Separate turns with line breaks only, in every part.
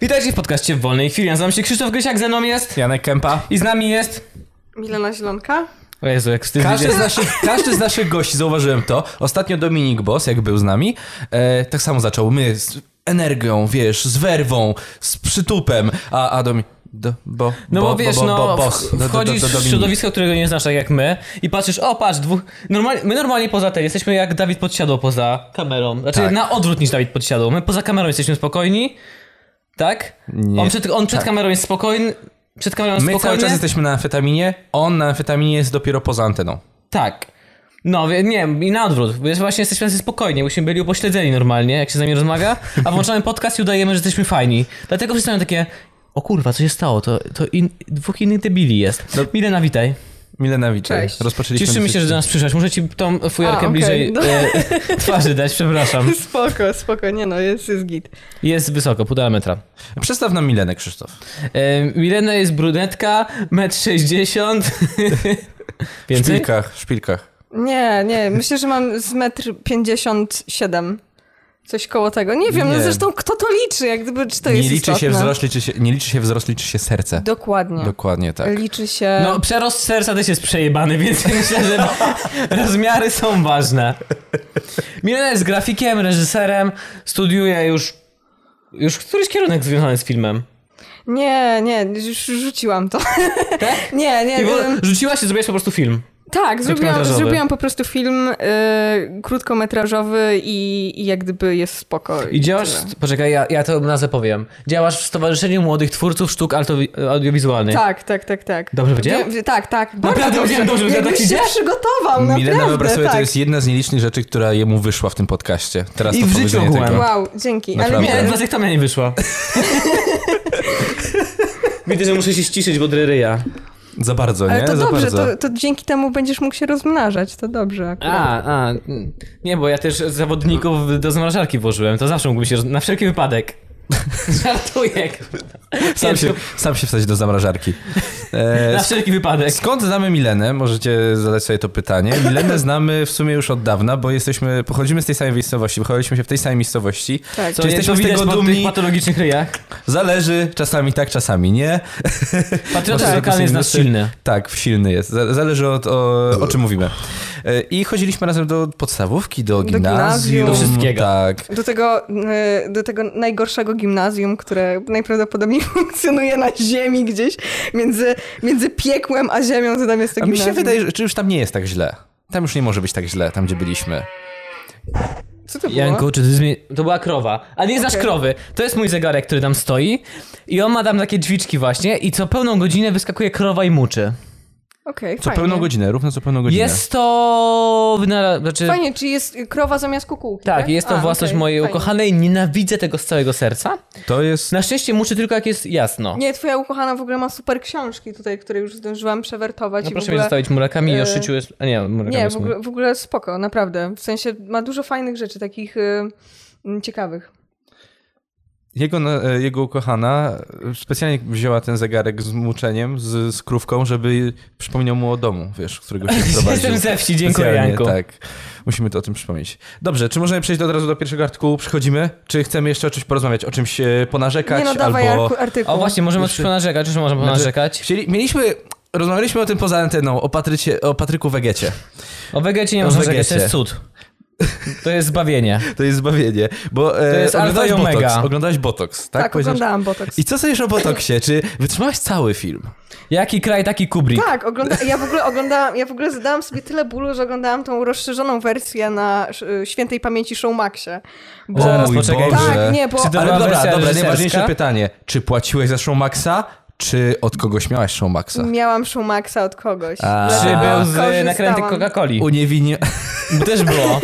Witajcie w podcaście w wolnej chwili. Nazywam się Krzysztof Grysiak, ze mną jest
Janek Kępa.
i z nami jest...
Milena Zielonka?
O Jezu, jak wstyd
Każdy z,
widzę.
naszych, każdy z naszych gości, zauważyłem to, ostatnio Dominik Boss, jak był z nami, e, tak samo zaczął. My z energią, wiesz, z werwą, z przytupem, a, a Dominik... Do, bo,
No bo,
bo
wiesz,
bo, bo,
no,
boss. Do- do- do- do
wchodzisz w
Dominika.
środowisko, którego nie znasz tak jak my i patrzysz, o patrz, dwóch... Normal... My normalnie poza tym jesteśmy jak Dawid Podsiadło poza kamerą. Znaczy
Tak.
na odwrót niż Dawid Podsiadło. My poza kamerą jesteśmy spokojni, tak?
Nie. Tak.
On przed, on przed kamerą jest spokojny, przed kamerą jest
My cały
spokojny.
czas jesteśmy na amfetaminie, on na amfetaminie jest dopiero poza anteną.
Tak. No, wie- nie, i na odwrót. Bo jest- Właśnie jesteśmy tacy spokojni, byśmy byli upośledzeni normalnie, jak się z nami rozmawia, a włączamy podcast i udajemy, że jesteśmy fajni. Dlatego wszyscy mają takie, o kurwa, co się stało? To, to in, dwóch innych debili jest.
No.
Milena, witaj.
Milena Wiczej.
Cześć.
Rozpoczęliśmy...
Cieszymy się, że do nas przyszłaś. Muszę ci tą fujarkę
A, okej.
bliżej
No.
e, twarzy dać, przepraszam.
Spoko, spoko, nie no, jest, jest git.
Jest wysoko, półtora metra.
Przedstaw nam Milenę, Krzysztof.
E, Milena jest brunetka, metr 60.
W
Więcej?
szpilkach, w szpilkach.
Nie, nie, myślę, że mam z metr 57. Coś koło tego. Nie wiem,
Nie.
no zresztą kto to liczy, jak gdyby, czy to
Nie
jest
liczy,
istotne.
się wzrost, liczy się, nie liczy się wzrost, liczy się serce.
Dokładnie.
Dokładnie tak.
Liczy się...
No, przerost serca też jest przejebany, więc ja myślę, że no, rozmiary są ważne. Milena jest grafikiem, reżyserem, studiuje już. Już któryś kierunek związany z filmem.
Nie, nie, już rzuciłam to.
Tak?
nie,
I
nie.
w ogóle
ym,
rzuciłaś i zrobiłaś po prostu film.
Tak, zrobiłam,
krótkometrażowy.
zrobiłam po prostu film y, krótkometrażowy i, i jak gdyby jest spoko.
I działasz.
tyle.
Poczekaj, ja, ja to nazwę powiem. Działasz w Stowarzyszeniu Młodych Twórców Sztuk Altowi- Audiowizualnych.
Tak, tak, tak, tak.
Dobrze powiedziałem?
Wie- Tak, tak.
Naprawdę powiedziałem dobrze, że ja
Jakbyś
taki
się
dziad?
przygotował,
Milena
naprawdę,
Wyobrazowie
tak.
to jest jedna z nielicznych rzeczy, która jemu wyszła w tym podcaście. Teraz
I
to
w życiu
powiedzenie
ogółem.
tego.
Wow, dzięki. Ale
Naprawdę.
Nie,
nie,
dwa sektomia nie wyszła. Widzę, że muszę się ściszyć, bo dryryja.
Za bardzo, nie?
ale to
Za
dobrze,
bardzo.
to, to dzięki temu będziesz mógł się rozmnażać, to dobrze akurat.
A, a, mm, nie, bo ja też zawodników do zamrażarki włożyłem, to zawsze mógłbym się, roz- na wszelki wypadek. Żartuję.
Sam,
Nie,
się,
to-
sam się wsadzi do zamrażarki. E,
Na wszelki wypadek.
skąd znamy Milenę? Możecie zadać sobie to pytanie. Milenę znamy w sumie już od dawna, bo jesteśmy, pochodzimy z tej samej miejscowości, wychowaliśmy się w tej samej miejscowości.
Tak.
Co, jesteśmy
Czy jesteśmy
to
z
widać
tego
po tych
dumni?
patologicznych ryjach.
Zależy, czasami tak, czasami nie.
Patriotyzm
Tak.
lokalny jest nas silny.
Tak, silny jest. Za- Zależy od, o, o czym mówimy. E, I chodziliśmy razem do podstawówki, do
Do
gimnazjum.
gimnazjum. Do
wszystkiego.
Tak.
Do tego, y, do tego najgorszego gimnazjum, które najprawdopodobniej funkcjonuje na ziemi gdzieś, między, między piekłem a ziemią, to tam jest to
A mi
gimnazjum.
się wydaje, że- że już tam nie jest tak źle. Tam już nie może być tak źle, tam gdzie byliśmy.
Co to było?
Janku, czy ty zmie... To była krowa. A nie znasz
Okej.
krowy. To jest mój zegarek, który tam stoi. I on ma tam takie drzwiczki właśnie i co pełną godzinę wyskakuje krowa i muczy.
Okej,
Co
fajnie.
pełną godzinę, równo co pełną godzinę.
Jest to... wynalaz- Znaczy...
Fajnie, czyli jest krowa zamiast kukułki, tak?
Tak, jest to
A,
własność
okej,
mojej
fajnie.
ukochanej. Nienawidzę tego z całego serca.
To jest...
Na szczęście muczy tylko jak jest jasno.
Nie, twoja ukochana w ogóle ma super książki tutaj, które już zdążyłam przewertować.
No
i w
proszę mnie
ogóle...
zostawić murakami i o
e,
szyciu jest... A nie, murakami
Nie,
jest
w
mój.
ogóle, w ogóle spoko, naprawdę. W sensie ma dużo fajnych rzeczy, takich y, m, ciekawych.
Jego, na- e, jego ukochana e, specjalnie wzięła ten zegarek z muczeniem, z, z krówką, żeby przypomniał mu o domu, wiesz, którego się prowadził.
Jestem ze wsi, dziękuję
Specjalnie,
Janku.
Tak. Musimy to o tym przypomnieć. Dobrze, czy możemy przejść od razu do pierwszego artykułu? Przechodzimy? Czy chcemy jeszcze o czymś porozmawiać, o czymś e, ponarzekać?
Nie no, dawaj
albo...
arku- artykuł.
O właśnie, możemy
Jeszcze-
coś ponarzekać, już możemy
Znaczy,
ponarzekać.
Chcieli... Mieliśmy... Rozmawialiśmy o tym poza anteną, o, Patrycie, o Patryku Wegecie.
O Wegecie nie
o
można
Wegecie.
narzekać, to jest cud. To jest zbawienie.
To jest zbawienie, bo e,
To jest alfa
oglądałeś
i omega.
Botox, oglądałeś Botox, tak?
tak,
Powiedziałeś-
oglądałam Botox.
I co sądzisz o Botoxie? Czy wytrzymałaś cały film?
Jaki kraj, taki Kubrick.
Tak, ogląda... ja w ogóle oglądałam, ja w ogóle zadałam sobie tyle bólu, że oglądałam tą rozszerzoną wersję na sz- y, świętej pamięci Showmaxie. Bo...
Zaraz,
O mój
poczekaj.
Boże.
Tak, nie, bo-
Czy to
Ale
była
dobra,
wersja
dobra,
reżyserska?
najważniejsze pytanie. Czy płaciłeś za Showmaxa, czy od kogoś miałaś Showmaxa?
Miałam Showmaxa od kogogoś.
A.
Czy
dlatego
był z
korzystałam.
nakręty Coca-Coli?
Uniewinio...
Też było.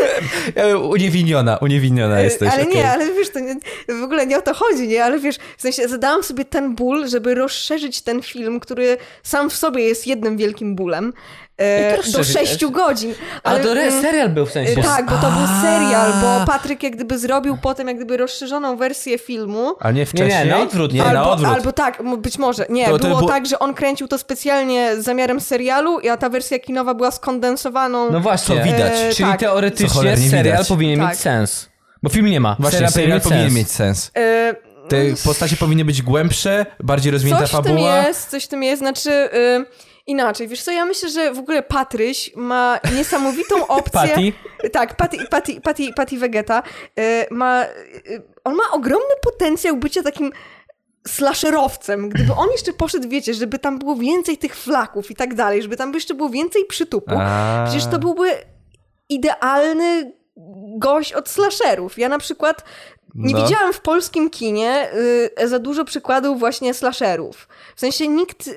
Ja bym uniewiniona, uniewiniona jesteś.
E, ale
okej.
nie, ale wiesz, to nie, w ogóle nie o to chodzi, nie? Ale wiesz, w sensie zadałam sobie ten ból, żeby rozszerzyć ten film, który sam w sobie jest jednym wielkim bólem,
Jak
e,
to
do
rozszerzyć?
sześciu godzin.
A to re-
mm,
serial był w sensie.
e, Tak, bo to był
A.
serial, bo Patryk jak gdyby zrobił potem jak gdyby rozszerzoną wersję filmu.
A nie wcześniej?
nie, na odwrót.
Nie,
albo,
na odwrót.
albo tak, m- być może. Nie,
To- to
było
było-
tak, że on kręcił to specjalnie z zamiarem serialu, a ta wersja kinowa była skondensowaną.
No właśnie.
To widać.
E,
Czyli
tak.
teoretycznie
Co cholernie
serial
widać.
powinien
Tak.
mieć sens. Bo film nie ma.
Właśnie,
serial
serial
powinien
powinien
sens.
mieć sens.
E,
Te postacie powinny być głębsze, bardziej rozwinięta
Coś w tym
fabuła.
jest, coś w tym jest, znaczy... y, Inaczej, wiesz co, ja myślę, że w ogóle Patryś ma niesamowitą opcję.
Patty?
Tak, Patty, Patty, Patty, Patty Vegeta y, ma, y, on ma ogromny potencjał bycia takim slasherowcem. Gdyby on jeszcze poszedł, wiecie, żeby tam było więcej tych flaków i tak dalej, żeby tam jeszcze było więcej przytupu,
A.
Przecież to byłby idealny gość od slasherów. Ja na przykład nie
No.
widziałam w polskim kinie y, za dużo przykładów właśnie slasherów. W sensie nikt, y,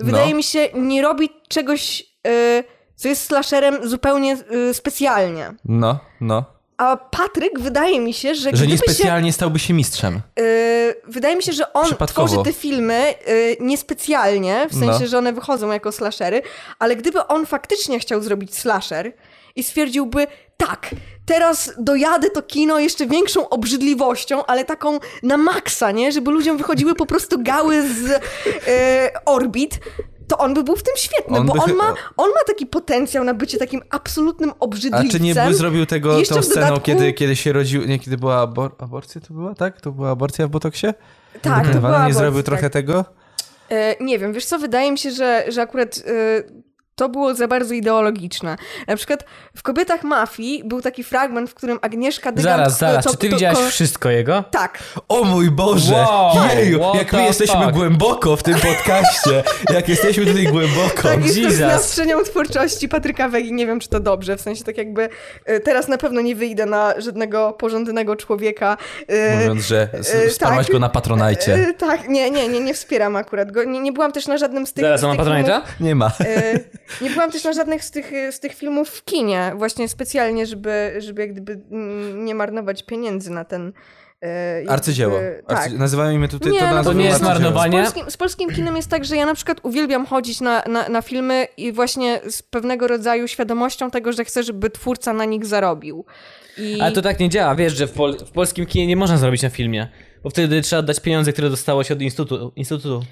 No.
wydaje mi się, nie robi czegoś, y, co jest slasherem zupełnie y, specjalnie.
No, no.
A Patryk wydaje mi się, że,
Że
gdyby się
niespecjalnie stałby się mistrzem.
Yy, wydaje mi się, że on
Przypadkowo.
tworzy te filmy yy, niespecjalnie, w sensie,
No.
że one wychodzą jako slashery, ale gdyby on faktycznie chciał zrobić slasher i stwierdziłby, tak, teraz dojadę to kino jeszcze większą obrzydliwością, ale taką na maksa, nie? Żeby ludziom wychodziły po prostu gały z yy, orbit, to on by był w tym świetny,
On
bo
by
on
chy-
ma, on ma taki potencjał na bycie takim absolutnym
A
obrzydliwcem.
czy nie by zrobił tego
I
tą
jeszcze w
sceną,
dodatku-
kiedy, kiedy się rodził, nie, kiedy była abor aborcja, to była, tak? To była aborcja w Botoksie?
Tak, to
Wykonywana?
była
nie zrobił
aborcja,
trochę
tak.
tego?
E, Nie wiem, wiesz co, wydaje mi się, że, że akurat e, to było za bardzo ideologiczne. Na przykład w Kobietach Mafii był taki fragment, w którym Agnieszka Dygant...
Zaraz, zaraz,
to-
czy ty
to-
widziałaś
ko-
wszystko jego?
Tak.
O mój Boże!
Wow, tak,
Jeju,
what
jak my
the
jesteśmy
fuck?
głęboko w tym podcaście! jak jesteśmy tutaj głęboko!
Tak, jestem
Jesus.
znawczynią twórczości Patryka Wegi, nie wiem, czy to dobrze, w sensie tak jakby e, teraz na pewno nie wyjdę na żadnego porządnego człowieka. e,
Mówiąc, że
e,
s- wsparłaś
tak.
go na patronajcie.
e, Tak, nie, nie, nie, nie wspieram akurat go. Nie, nie byłam też na żadnym z tych...
Zaraz,
z
on ma
tych
patronata?
Nie ma.
E, Nie byłam też na żadnych z tych, z tych filmów w kinie, właśnie specjalnie, żeby, żeby jak gdyby mm, nie marnować pieniędzy na ten... e, jakby-
Arcydzieło.
Tak.
Arcy... Nazywajmy tutaj
Nie,
to
no
To
nazywamy
nie jest
arcydziełem.
marnowanie.
Z polskim, z polskim kinem jest tak, że ja na przykład uwielbiam chodzić na, na, na filmy i właśnie z pewnego rodzaju świadomością tego, że chcę, żeby twórca na nich zarobił. I...
Ale to tak nie działa, wiesz, że w, pol- w polskim kinie nie można zrobić na filmie. Bo wtedy trzeba oddać pieniądze, które dostałeś od instytutu, instytutu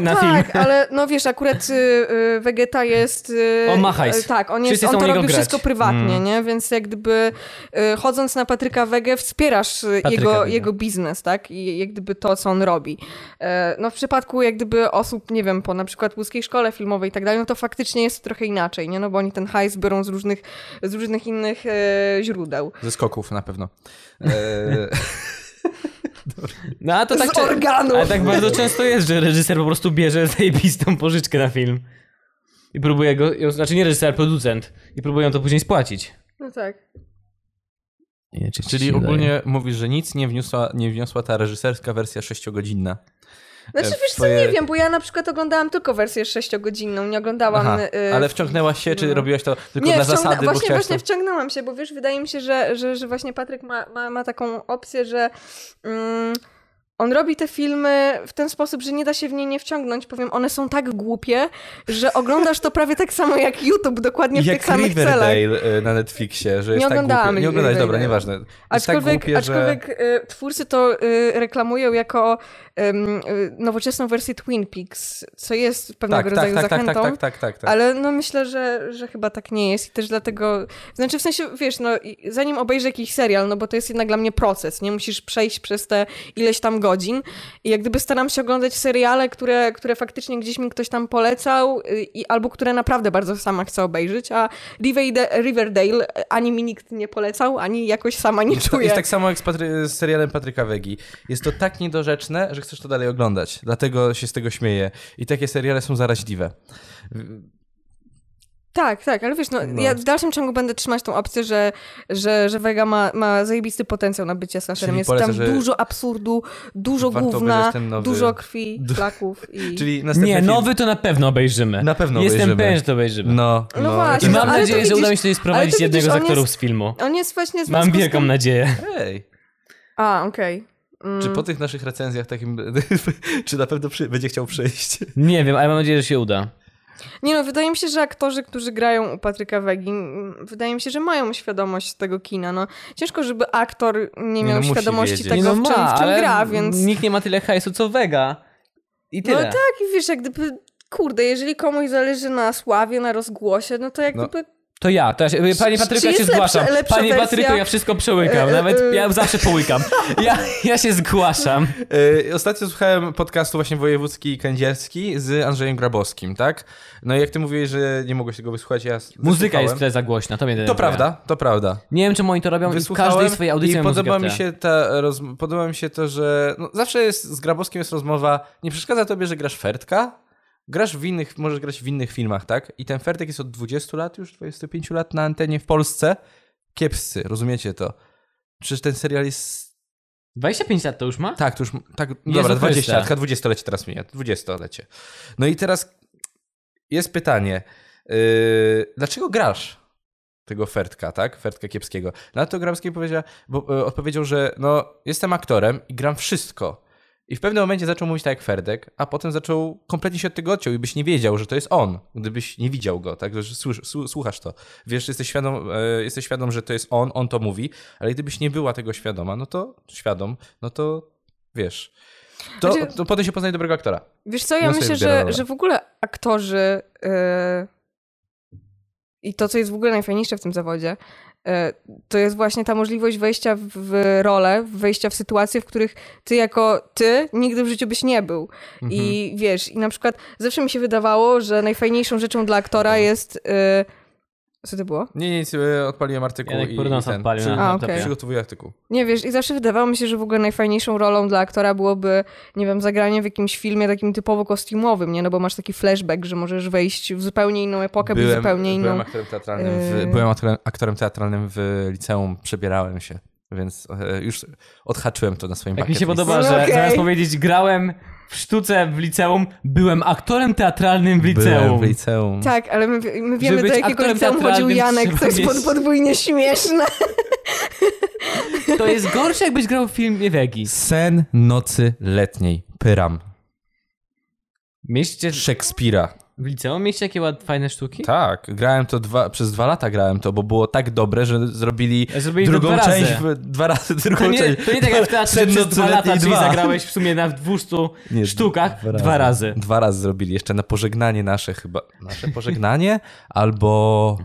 na film.
tak, ale no wiesz, akurat y, y, Vegeta jest... Y,
On ma hajs.
y, Tak, on, jest,
Wszyscy
on
chcą
to
u niego
robił
grać. Mm.
wszystko prywatnie, nie? Więc jak gdyby y, chodząc na Patryka Wege wspierasz y,
Patryka
jego,
Wege.
jego biznes, tak? I jak gdyby to, co on robi. E, no w przypadku jak gdyby osób, nie wiem, po na przykład łódzkiej szkole filmowej i tak dalej, no to faktycznie jest trochę inaczej, nie? No bo oni ten hajs biorą z różnych, z różnych innych e, źródeł.
Ze skoków na pewno. E...
No a to tak,
Z
czy-
organów.
Ale tak bardzo często jest, że reżyser po prostu bierze zajebistą pożyczkę na film. I próbuje go, ją- znaczy nie reżyser, ale producent. I próbują to później spłacić.
No tak.
E, Nie, czy- czy
Czyli
się
ogólnie
udaje.
mówisz, że nic nie wniosła, nie wniosła ta reżyserska wersja sześciogodzinna.
Znaczy
E,
wiesz co,
twoje-
nie wiem, bo ja na przykład oglądałam tylko wersję sześciogodzinną, nie oglądałam...
Aha,
y,
ale wciągnęłaś się, czy robiłaś to tylko dla
wciągna-
zasady, bo
właśnie,
chciałaś
właśnie
to...
wciągnęłam się, bo wiesz, wydaje mi się, że, że, że właśnie Patryk ma, ma, ma taką opcję, że mm, on robi te filmy w ten sposób, że nie da się w nie nie wciągnąć. Powiem, one są tak głupie, że oglądasz to prawie tak samo jak YouTube, dokładnie w
Jak
tych samych celach.
Riverdale e, na Netflixie, że jest tak
oglądałam
głupie. Nie oglądałeś, dobra,
Riverdale.
nieważne. Jest tak
Aczkolwiek,
głupie, że...
aczkolwiek y, twórcy to y, reklamują jako ym, y, nowoczesną wersję Twin Peaks, co jest pewnego
Tak, tak,
rodzaju
tak, tak,
zachętą.
tak, tak, tak, tak, tak.
Ale no myślę, że, że chyba tak nie jest i też dlatego, znaczy w sensie, wiesz, no i- zanim obejrzę jakiś serial, no bo to jest jednak dla mnie proces, nie? Musisz przejść przez te ileś tam godzin i jak gdyby staram się oglądać seriale, które, które faktycznie gdzieś mi ktoś tam polecał y, i, albo które naprawdę bardzo sama chcę obejrzeć, a Riverde- Riverdale e, ani mi nikt nie polecał, ani jakoś sama nie
To
czuję.
jest tak samo jak z, Patry- z serialem Patryka Wegi. Jest to tak niedorzeczne, że chcesz to dalej oglądać. Dlatego się z tego śmieję. I takie seriale są zaraźliwe.
Tak, tak, ale wiesz, no, ja w dalszym ciągu będę trzymać tą opcję, że, że, że Vega ma, ma zajebisty potencjał na bycie slasherem.
Czyli
Jest
polecasz,
tam
że
dużo absurdu, dużo
warto
gówna,
obejrzeć ten nowy-
dużo krwi, flaków i...
Czyli następny
Nie,
film.
nowy to na pewno obejrzymy.
Na pewno
Jestem
obejrzymy.
pewien, że to obejrzymy.
No,
No właśnie,
I mam
Ale to
nadzieję, że
widzisz-
uda mi się tutaj
ale to
sprowadzić
widzisz,
jednego z
on
aktorów
jest-
z filmu.
On jest właśnie w
Mam
związku z
wielką
tym-
nadzieję.
Hej,
A, okej.
czy
Mm.
po tych naszych recenzjach takim, czy na pewno przy, będzie chciał przyjść?
Nie wiem, ale mam nadzieję, że się uda.
Nie no, wydaje mi się, że aktorzy, którzy grają u Patryka Wegi, mm, wydaje mi się, że mają świadomość tego kina. No, ciężko, żeby aktor nie
no,
miał
musi
świadomości
wiedzieć.
tego,
no
w czym,
ma,
w czym
ale
gra, więc...
Nikt nie ma tyle hajsu co Vega. I
No
tyle.
tak, i wiesz, jak gdyby, kurde, jeżeli komuś zależy na sławie, na rozgłosie, no to jak
No.
gdyby
To ja, to ja się, Panie Patryku, ja
czy
się
jest lepsza-
zgłaszam.
lepsza
Panie
wersja?
Patryku, ja wszystko przełykam,
E,
nawet
e,
ja zawsze połykam. Ja, ja się zgłaszam.
E, Ostatnio słuchałem podcastu właśnie wojewódzki i kędzierski z Andrzejem Grabowskim, tak? No i jak ty mówiłeś, że nie mogłeś tego wysłuchać, ja s-
Muzyka
wysłuchałem.
jest wtedy za głośna, to mnie
To
denerwuje.
prawda, to prawda.
Nie wiem, czemu oni to robią i w
Wysłuchałem
każdej swojej audycji
i
mają
podoba
muzykę
mi
w tle.
się ta roz... podoba mi się to, że no, zawsze jest z Grabowskim jest rozmowa, nie przeszkadza tobie, że grasz fertka? Grasz w innych, możesz grać w innych filmach, tak? I ten fertek jest od 20 lat już, 25 lat na antenie w Polsce. Kiepscy, rozumiecie to. Przecież ten serial jest
25 lat to już ma?
tak, to już. Tak, dobra,
Chryste.
20 latka, 20-lecie teraz mija. 20-lecie. No i teraz jest pytanie. Yy, dlaczego grasz tego Fertka, tak? Fertka Kiepskiego. Na to Grabski powiedział, bo, e, odpowiedział, że no, jestem aktorem i gram wszystko. I w pewnym momencie zaczął mówić tak jak Ferdek, a potem zaczął kompletnie się od tego odciął i byś nie wiedział, że to jest on, gdybyś nie widział go, tak? Że słysz, słu- słuchasz to. Wiesz, jesteś świadom, e, jesteś świadom, że to jest on, on to mówi, ale gdybyś nie była tego świadoma, no to świadom, no to wiesz. To,
Znaczy-
to potem się poznaje dobrego aktora.
Wiesz co, ja
No sobie
myślę,
wybiera,
że,
dobra.
że w ogóle aktorzy e, i to, co jest w ogóle najfajniejsze w tym zawodzie, e, to jest właśnie ta możliwość wejścia w, w rolę, wejścia w sytuacje, w których ty jako ty nigdy w życiu byś nie był. I
Mhm.
wiesz, i na przykład zawsze mi się wydawało, że najfajniejszą rzeczą dla aktora jest... e, Co to było?
Nie, nie, nic, e, odpaliłem artykuł
Janek
i, i
Purnos
ten.
odpalił na
Przy,
A,
laptopie.
okej.
przygotowuję artykuł.
Nie wiesz, i zawsze wydawało mi się, że w ogóle najfajniejszą rolą dla aktora byłoby, nie wiem, zagranie w jakimś filmie takim typowo kostiumowym, nie? No bo masz taki flashback, że możesz wejść w zupełnie inną epokę, być zupełnie
byłem
inną.
aktorem teatralnym w,
Yy.
byłem aktorem, aktorem teatralnym w liceum, przebierałem się, więc e, już odhaczyłem to na swoim
Tak mi
bucket
się
list.
podoba,
No
że
okej.
zamiast powiedzieć grałem w sztuce w liceum, byłem aktorem teatralnym w
Byłem
liceum.
w liceum.
Tak, ale my, wie- my wiemy,
być
do jakiego
aktorem
liceum chodził
teatralnym,
Janek,
trzeba
to jest pod,
mieć-
podwójnie śmieszne.
To jest gorsze, jakbyś grał w filmie Wegi.
Sen nocy letniej. Pyram.
Mieście
Szekspira.
w liceum mieście jakie ład- fajne sztuki?
Tak, grałem to dwa, przez dwa lata grałem to, bo było tak dobre, że zrobili,
Zrobili to
drugą
dwa razy.
część, w- dwa razy drugą
To nie,
część.
to nie tak jak w teatrze, że
Sen
przez
nocy
dwa lata,
letniej
czyli
dwa.
zagrałeś w sumie na 200
Nie,
sztukach dwa razy.
Dwa razy zrobili, jeszcze na pożegnanie nasze chyba. Nasze pożegnanie albo...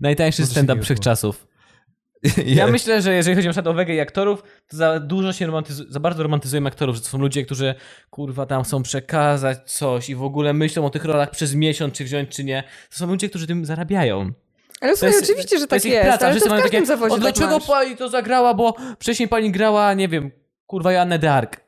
Najtańszy
coś
stand-up
takiego
wszechczasów. Ja myślę, że jeżeli chodzi na przykład o Wege i aktorów, to za dużo się romantyzuje, za bardzo romantyzujemy aktorów, że to są ludzie, którzy kurwa tam chcą przekazać coś i w ogóle myślą o tych rolach przez miesiąc, czy wziąć, czy nie. To są ludzie, którzy tym zarabiają.
Ale słuchaj, oczywiście, że
to
tak jest,
ich praca.
ale
Wszyscy
to w
mają
każdym
takie,
zawodzie
o,
tak
dlaczego
masz.
pani to zagrała, bo wcześniej pani grała, nie wiem, kurwa Joannę Dark.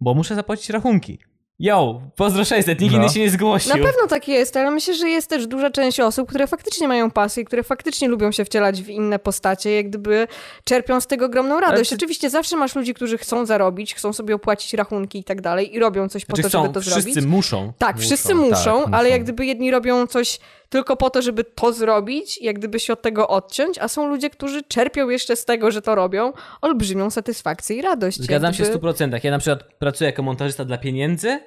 Bo muszę zapłacić rachunki. Yo, pozdro 600, nikt
No.
inny się nie zgłosił.
Na pewno tak jest, ale myślę, że jest też duża część osób, które faktycznie mają pasję, które faktycznie lubią się wcielać w inne postacie, jak gdyby czerpią z tego ogromną radość.
ty-
Oczywiście zawsze masz ludzi, którzy chcą zarobić, chcą sobie opłacić rachunki i tak dalej i robią coś po
Znaczy
to,
chcą,
żeby to
wszyscy
zrobić.
muszą.
Tak,
Muszą,
wszyscy muszą,
tak,
ale
muszą.
jak gdyby jedni robią coś tylko po to, żeby to zrobić, jak gdyby się od tego odciąć, a są ludzie, którzy czerpią jeszcze z tego, że to robią, olbrzymią satysfakcję i radość.
Zgadzam
jak
się w
gdyby-
100%. Ja na przykład pracuję jako montażysta dla pieniędzy,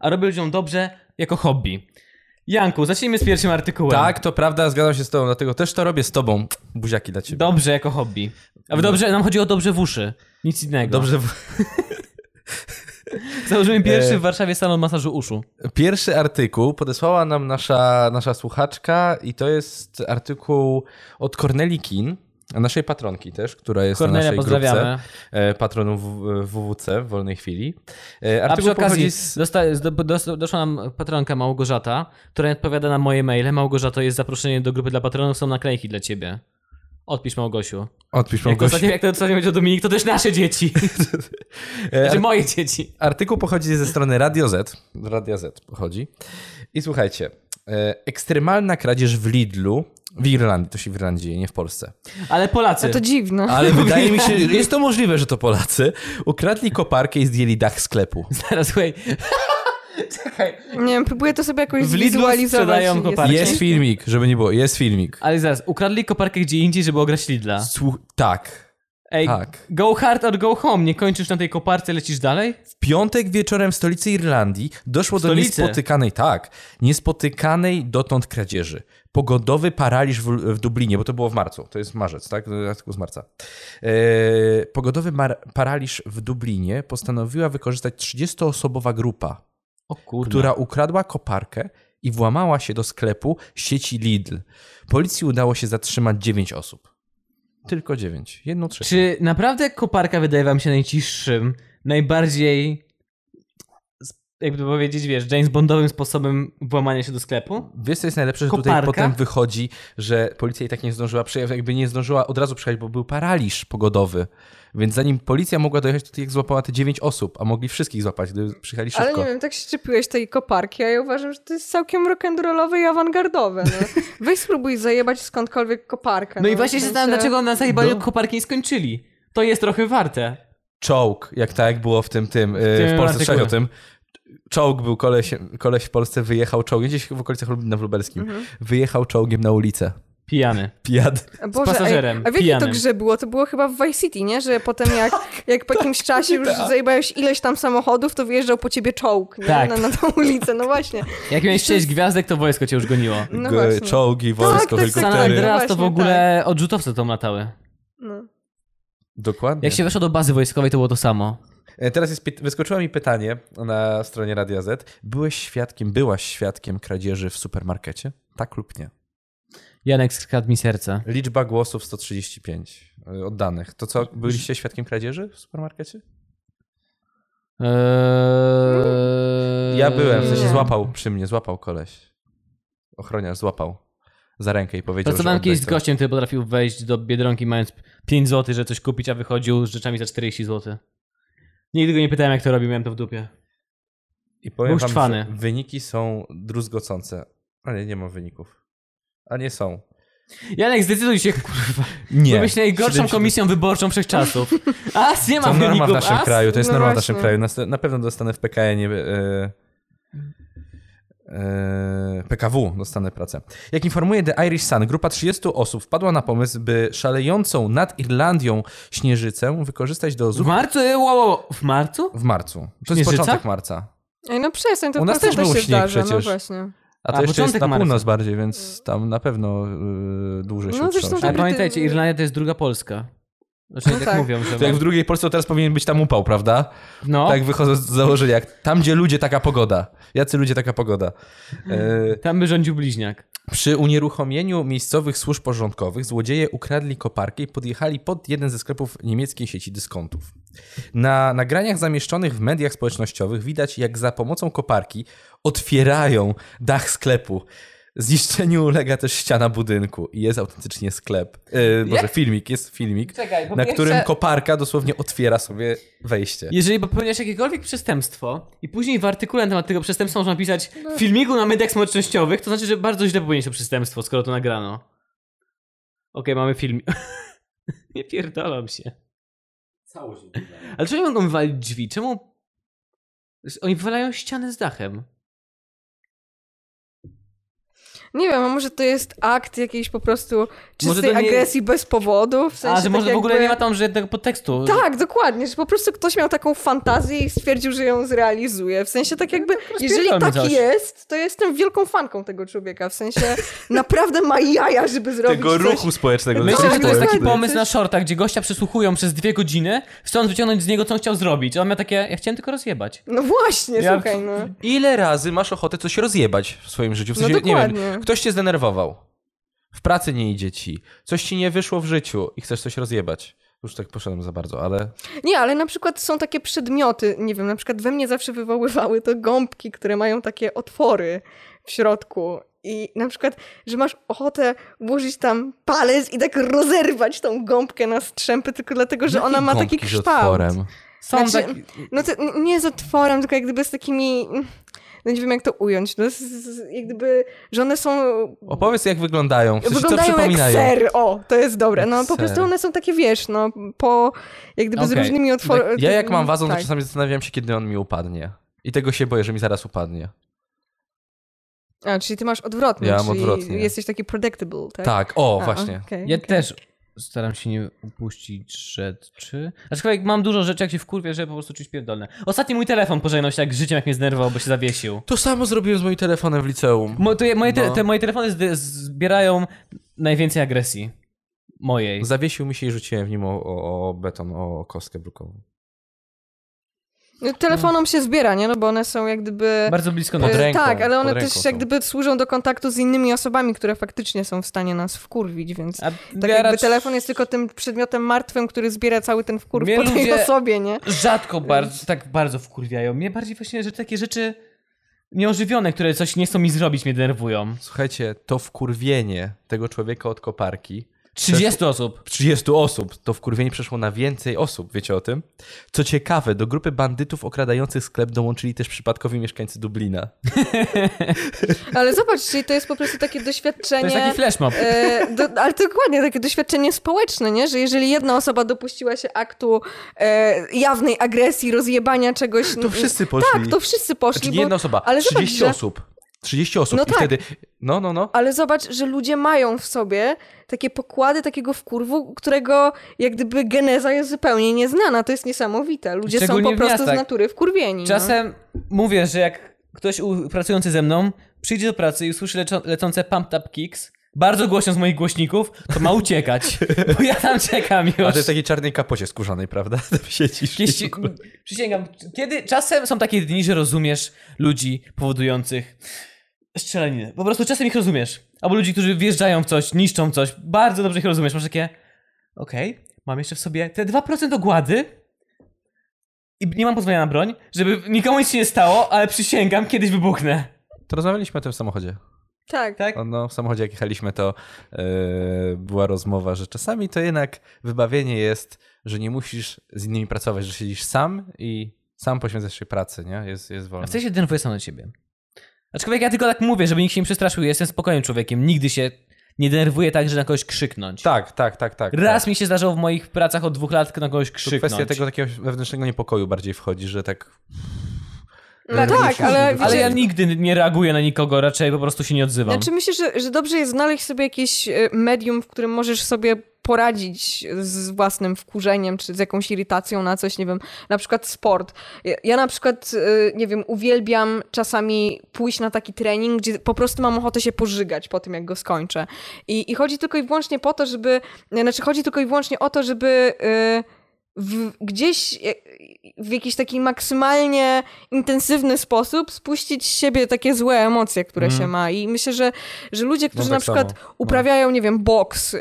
a robię ludziom dobrze jako hobby. Janku, zacznijmy z pierwszym artykułem.
Tak, to prawda, zgadzam się z tobą, dlatego też to robię z tobą. Buziaki dla ciebie.
Dobrze jako hobby. A w dobrze, nam chodzi o dobrze w uszy. Nic innego.
No. Dobrze.
Założymy pierwszy
E.
w Warszawie salon masażu uszu.
Pierwszy artykuł podesłała nam nasza, nasza słuchaczka i to jest artykuł od Corneli Kin, naszej patronki też, która jest
Kornelia,
na naszej
pozdrawiamy.
grupce e, patronów w- WWC w wolnej chwili. E,
A przy
Artykuł
okazji
pochodzi z...
dosta, do, do, doszła nam patronka Małgorzata, która odpowiada na moje maile. Małgorzato jest zaproszenie do grupy dla patronów, są naklejki dla ciebie. Odpisz Małgosiu.
Odpisz
Jak, to
Małgosiu.
ostatnio, jak to ostatnio powiedział Dominik, to też nasze dzieci.
E,
znaczy moje dzieci.
Artykuł pochodzi ze strony Radio Z. Radia Z pochodzi. I słuchajcie. e, Ekstremalna kradzież w Lidlu, w Irlandii, to się w Irlandii dzieje, nie w Polsce.
Ale Polacy.
No to dziwne.
Ale wydaje mi się, jest to możliwe, że to Polacy. Ukradli koparkę i zdjęli dach sklepu.
Zaraz, słuchaj. Czekaj.
Nie wiem, próbuję to sobie jakoś
W Lidlu
zwizualizować.
sprzedają
Jest-
koparki.
Jest filmik, żeby nie było, jest filmik.
Ale zaraz, ukradli koparkę gdzie indziej, żeby ograć Lidla.
Słuch- tak.
Ej,
Tak.
go hard or go home. Nie kończysz na tej koparce, lecisz dalej?
W piątek wieczorem w stolicy Irlandii doszło do
Stolicy?
niespotykanej, tak, niespotykanej dotąd kradzieży. Pogodowy paraliż w, w Dublinie, bo to było w marcu, to jest marzec, tak? Artykuł z marca. Eee, pogodowy mar- paraliż w Dublinie postanowiła wykorzystać 30-osobowa grupa,
O kurwa.
która ukradła koparkę i włamała się do sklepu sieci Lidl. Policji udało się zatrzymać 9 osób. Tylko 9. Jedną trzecią.
Czy naprawdę koparka wydaje wam się najciszszym, najbardziej, z- jakby to powiedzieć, wiesz, James Bondowym sposobem włamania się do sklepu? No
Wiesz, co jest najlepsze, że tutaj
Koparka?
potem wychodzi, że policja i tak nie zdążyła przyjechać, jakby nie zdążyła od razu przyjechać, bo był paraliż pogodowy. Więc zanim policja mogła dojechać, to tych złapała te 9 osób, a mogli wszystkich złapać, gdy przyjechali szybko.
Ale nie wiem, tak się czepiłeś tej koparki, a ja uważam, że to jest całkiem rock'n'rollowe i awangardowe. No. Weź spróbuj zajebać skądkolwiek koparkę.
No, i właśnie
w
się
sensie-
zastanawiam, dlaczego na zajebaniu
No.
koparki nie skończyli. To jest trochę warte.
Czołg, jak tak było w tym, tym, w,
tym
w Polsce,
artykule.
trzeba o tym. Czołg był, koleś, koleś w Polsce wyjechał czołgiem, gdzieś w okolicach Lublina w Lubelskim,
Mhm.
wyjechał czołgiem na ulicę.
Pijany.
Pijany.
Boże, ej,
pasażerem,
A w jakiej to
pijanym. Tak.
grze było? To było chyba w Vice City, nie? Że potem jak, jak po jakimś czasie już zajebałeś ileś tam samochodów, to wyjeżdżał po ciebie czołg nie?
Tak.
Na, na tą ulicę. No właśnie.
Jak miałeś sześć gwiazdek, to wojsko cię już goniło.
No
G-
właśnie.
Czołgi,
Tak,
wojsko,
to jest
San
helikoptery.
tak,
Andreas to w
Właśnie,
ogóle odrzutowce tam latały.
No.
Dokładnie.
Jak się weszło do bazy wojskowej, to było to samo.
E, Teraz jest, pyt- wyskoczyło mi pytanie na stronie Radia Z. Byłeś świadkiem, byłaś świadkiem kradzieży w supermarkecie? Tak lub nie?
Janek skradł mi serce.
Liczba głosów 135 e, oddanych. To co, byliście świadkiem kradzieży w supermarkecie?
Eee...
Ja byłem, w sensie
Nie.
złapał przy mnie, złapał koleś. Ochroniarz złapał za rękę i powiedział,
Pracowałem
że
kiedyś z
oddaj to.
gościem, który potrafił wejść do Biedronki mając 5 zł, żeby coś kupić, a wychodził z rzeczami za 40 zł. Nigdy go nie pytałem, jak to robi, miałem to w dupie.
I powiem
Był
wam,
szczwany.
że wyniki są druzgocące. Ale nie ma wyników. A nie są.
Janek, zdecyduj się, kurwa.
Nie.
Nie. Byłeś najgorszą
70.
komisją wyborczą wszechczasów. As, nie ma
To norma
wyników,
w naszym
as.
kraju, to jest
No
norma w
właśnie.
naszym kraju. Na, na pewno dostanę w PKN. Yy, PKW dostanę pracę. Jak informuje The Irish Sun, grupa 30 osób wpadła na pomysł, by szalejącą nad Irlandią śnieżycę wykorzystać do
W
zup
marcu? Wow, wow. W marcu?
w marcu. To jest
Śnieżyca?
początek marca.
Ej, no przestań, to
U nas
po
też
prostu
był
się
śnieg
zdarza. No
przecież.
właśnie.
A to
A,
jeszcze jest
początek
na
marca.
północ bardziej, więc tam na pewno yy, dłużej się
No,
no,
zresztą
Ale
Dobry,
pamiętajcie,
ty-
Irlandia to jest druga Polska. Znaczy,
No
tak,
tak.
mówią, że...
To jak w drugiej Polsce, to teraz powinien być tam upał, prawda?
No,
Tak wychodzę z założenia. jak Tam, gdzie ludzie, taka pogoda. Jacy ludzie, taka pogoda. Yy,
tam by rządził bliźniak.
Przy unieruchomieniu miejscowych służb porządkowych złodzieje ukradli koparkę i podjechali pod jeden ze sklepów niemieckiej sieci dyskontów. Na nagraniach zamieszczonych w mediach społecznościowych widać, jak za pomocą koparki otwierają dach sklepu. Zniszczeniu ulega też ściana budynku i jest autentycznie sklep. Yy, Boże, filmik, jest filmik,
Czekaj, po
na
pierwsze-
którym koparka dosłownie otwiera sobie wejście.
Jeżeli popełniasz jakiekolwiek przestępstwo i później w artykule na temat tego przestępstwa można napisać
No.
w filmiku na mediach społecznościowych, to znaczy, że bardzo źle popełniłeś to przestępstwo, skoro to nagrano. Okej, mamy film. Nie pierdolam się. Ale czemu mogą wywalić drzwi? Czemu... Oni wywalają ścianę z dachem.
Nie wiem, a może to jest akt jakiejś po prostu czystej
to nie-
agresji bez powodu? W sensie
A, że
tak
może w ogóle
jakby-
nie ma tam żadnego podtekstu.
Tak, dokładnie, że po prostu ktoś miał taką fantazję i stwierdził, że ją zrealizuje. W sensie
No,
tak jakby, jeżeli
rozpierdolmy
tak
coś.
jest, to jestem wielką fanką tego człowieka. W sensie naprawdę ma jaja, żeby zrobić
Tego
coś.
ruchu społecznego.
No Myślę, że to jest taki
Dokładnie.
pomysł na shorta, gdzie gościa przesłuchują przez dwie godziny, chcąc wyciągnąć z niego, co on chciał zrobić. A on miał takie, ja chciałem tylko rozjebać.
No właśnie,
Ja-
słuchaj, no.
Ile razy masz ochotę coś rozjebać w swoim życiu? W
No
sensie, nie
dokładnie.
wiem, ktoś cię zdenerwował. W pracy nie idzie ci. Coś ci nie wyszło w życiu i chcesz coś rozjebać. Już tak poszedłem za bardzo, ale...
Nie, ale na przykład są takie przedmioty, nie wiem, na przykład we mnie zawsze wywoływały to gąbki, które mają takie otwory w środku. I na przykład, że masz ochotę włożyć tam palec i tak rozerwać tą gąbkę na strzępy, tylko dlatego, że ona ma taki
Gąbki z
kształt.
otworem.
Są
Znaczy,
tak...
No to n- nie z otworem, tylko jak gdyby z takimi. No nie wiem, jak to ująć. No, z, z, jak gdyby, że one są.
Opowiedz, jak wyglądają. W sensie, co
wyglądają jak
przypominają.
ser. O, to jest dobre. No
Jak
po prostu
ser.
one są takie, wiesz, no po. Jak gdyby z
Okej.
różnymi tak. otworami.
Ja jak mam wazon, to czasami zastanawiam się, kiedy on mi upadnie. I tego się boję, że mi zaraz upadnie.
A, czyli ty masz odwrotnie.
Ja mam
czyli
odwrotnie.
Jesteś taki predictable, tak?
Tak, o,
A,
właśnie.
okej,
Ja
okej.
też staram się nie upuścić rzeczy. Aczkolwiek mam dużo rzeczy, jak się wkurwię, że po prostu czuć pierdolne. Ostatni mój telefon pożegnał się tak z życiem, jak mnie zdenerwował, bo się zawiesił.
To samo zrobiłem z moim telefonem w liceum.
Mo, to je, moje, te,
No.
te moje telefony zde- zbierają najwięcej agresji. Mojej.
Zawiesił mi się i rzuciłem w nim o, o, o beton, o kostkę brukową.
No, Telefonom się zbiera, nie? No bo one są jak gdyby...
Bardzo blisko
Pod
nas.
E,
ręką,
tak, ale one
pod
też
ręką
jak
są.
gdyby służą do kontaktu z innymi osobami, które faktycznie są w stanie nas wkurwić, więc
A
tak jakby telefon jest tylko tym przedmiotem martwym, który zbiera cały ten wkurw
Mnie
po tej
ludzie-
osobie, nie?
rzadko bardzo, tak bardzo wkurwiają. Mnie bardziej właśnie, że takie rzeczy nieożywione, które coś nie chcą mi zrobić, mnie denerwują.
Słuchajcie, to wkurwienie tego człowieka od koparki
30 osób.
30 osób. To wkurwienie przeszło na więcej osób, wiecie o tym? Co ciekawe, do grupy bandytów okradających sklep dołączyli też przypadkowi mieszkańcy Dublina.
Ale zobacz, czyli to jest po prostu takie doświadczenie...
To jest taki flash mob.
E, do, ale dokładnie takie doświadczenie społeczne, nie? że jeżeli jedna osoba dopuściła się aktu e, jawnej agresji, rozjebania czegoś.
To
no,
wszyscy poszli.
Tak, to wszyscy poszli.
Znaczy nie
bo-
jedna osoba,
ale zobacz,
30
że-
osób. 30 osób
No
i
tak.
wtedy... No, no, no.
Ale zobacz, że ludzie mają w sobie takie pokłady takiego wkurwu, którego jak gdyby geneza jest zupełnie nieznana. To jest niesamowite. Ludzie są
Szczególnie w
po prostu z
miastach.
natury wkurwieni. no.
Czasem mówię, że jak ktoś u, pracujący ze mną przyjdzie do pracy i usłyszy leco, lecące pump up kicks, bardzo głośno z moich głośników, to ma uciekać, bo ja tam czekam już.
A to jest w takiej czarnej kapocie skórzanej, prawda? Tam siedzisz. i-
Jeśli, przysięgam, kiedy czasem są takie dni, że rozumiesz ludzi powodujących strzelaninę. Po prostu czasem ich rozumiesz. Albo ludzi, którzy wjeżdżają w coś, niszczą coś. Bardzo dobrze ich rozumiesz. Masz takie, okej, mam jeszcze w sobie te 2% ogłady i nie mam pozwolenia na broń, żeby nikomu nic się nie stało, ale przysięgam, kiedyś wybuchnę.
To rozmawialiśmy o tym w samochodzie.
No. Tak.
Tak?
No, w samochodzie jak jechaliśmy, to yy, była rozmowa, że czasami to jednak wybawienie jest, że nie musisz z innymi pracować, że siedzisz sam i sam poświęcasz się pracy, nie? Jest, jest
A
wolno.
w sensie denerwuję sam na ciebie. Aczkolwiek ja tylko tak mówię, żeby nikt się nie przestraszył. Ja Jestem spokojnym człowiekiem. Nigdy się nie denerwuję tak, że na kogoś krzyknąć.
Tak, tak, tak, tak.
Raz
tak.
mi się zdarzyło w moich pracach od dwóch lat na kogoś
To
krzyknąć.
kwestia tego takiego wewnętrznego niepokoju bardziej wchodzi, że tak...
No tak, ale wiecie,
Ale ja nigdy nie reaguję na nikogo, raczej po prostu się nie odzywam.
Znaczy myślę, że, że dobrze jest znaleźć sobie jakieś e, medium, w którym możesz sobie poradzić z własnym wkurzeniem czy z jakąś irytacją na coś, nie wiem, na przykład sport. Ja- Ja na przykład, e, nie wiem, uwielbiam czasami pójść na taki trening, gdzie po prostu mam ochotę się pożygać po tym, jak go skończę. I, i chodzi tylko i wyłącznie po to, żeby, znaczy chodzi tylko i wyłącznie o to, żeby... e, w, gdzieś e, w jakiś taki maksymalnie intensywny sposób spuścić z siebie takie złe emocje, które
Mhm.
się ma. I myślę, że, że ludzie, którzy
tak
na przykład
samo, no.
uprawiają, nie wiem, boks, y,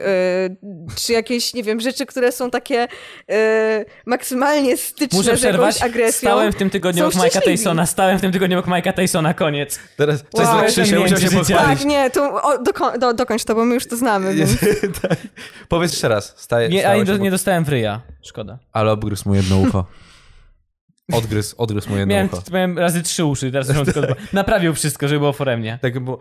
czy jakieś, nie wiem, rzeczy, które są takie y, maksymalnie styczne
Muszę
z jakąś
przerwać.
agresją.
Stałem w tym tygodniu
są
obok Mike'a
szczęśliwi.
Tysona. Stałem w tym tygodniu obok Mike'a Tysona. Koniec.
Teraz
Wow.
wow. Krzysia musiał się
Życia.
pochwalić.
Tak, nie, to o, doko- do, dokończ to, bo my już to znamy. Więc...
Tak. Powiedz jeszcze raz. Staje,
Nie,
stałem
ani do,
się
nie
pod-
dostałem w ryja. Szkoda.
Ale obgryzł mu jedno ucho. Odgryzł, odgryzł mu jedno
Miałem,
ucho.
miałem razy trzy uszy, teraz już mam tylko dwa. Naprawił wszystko, żeby było foremnie.
Tak, bo...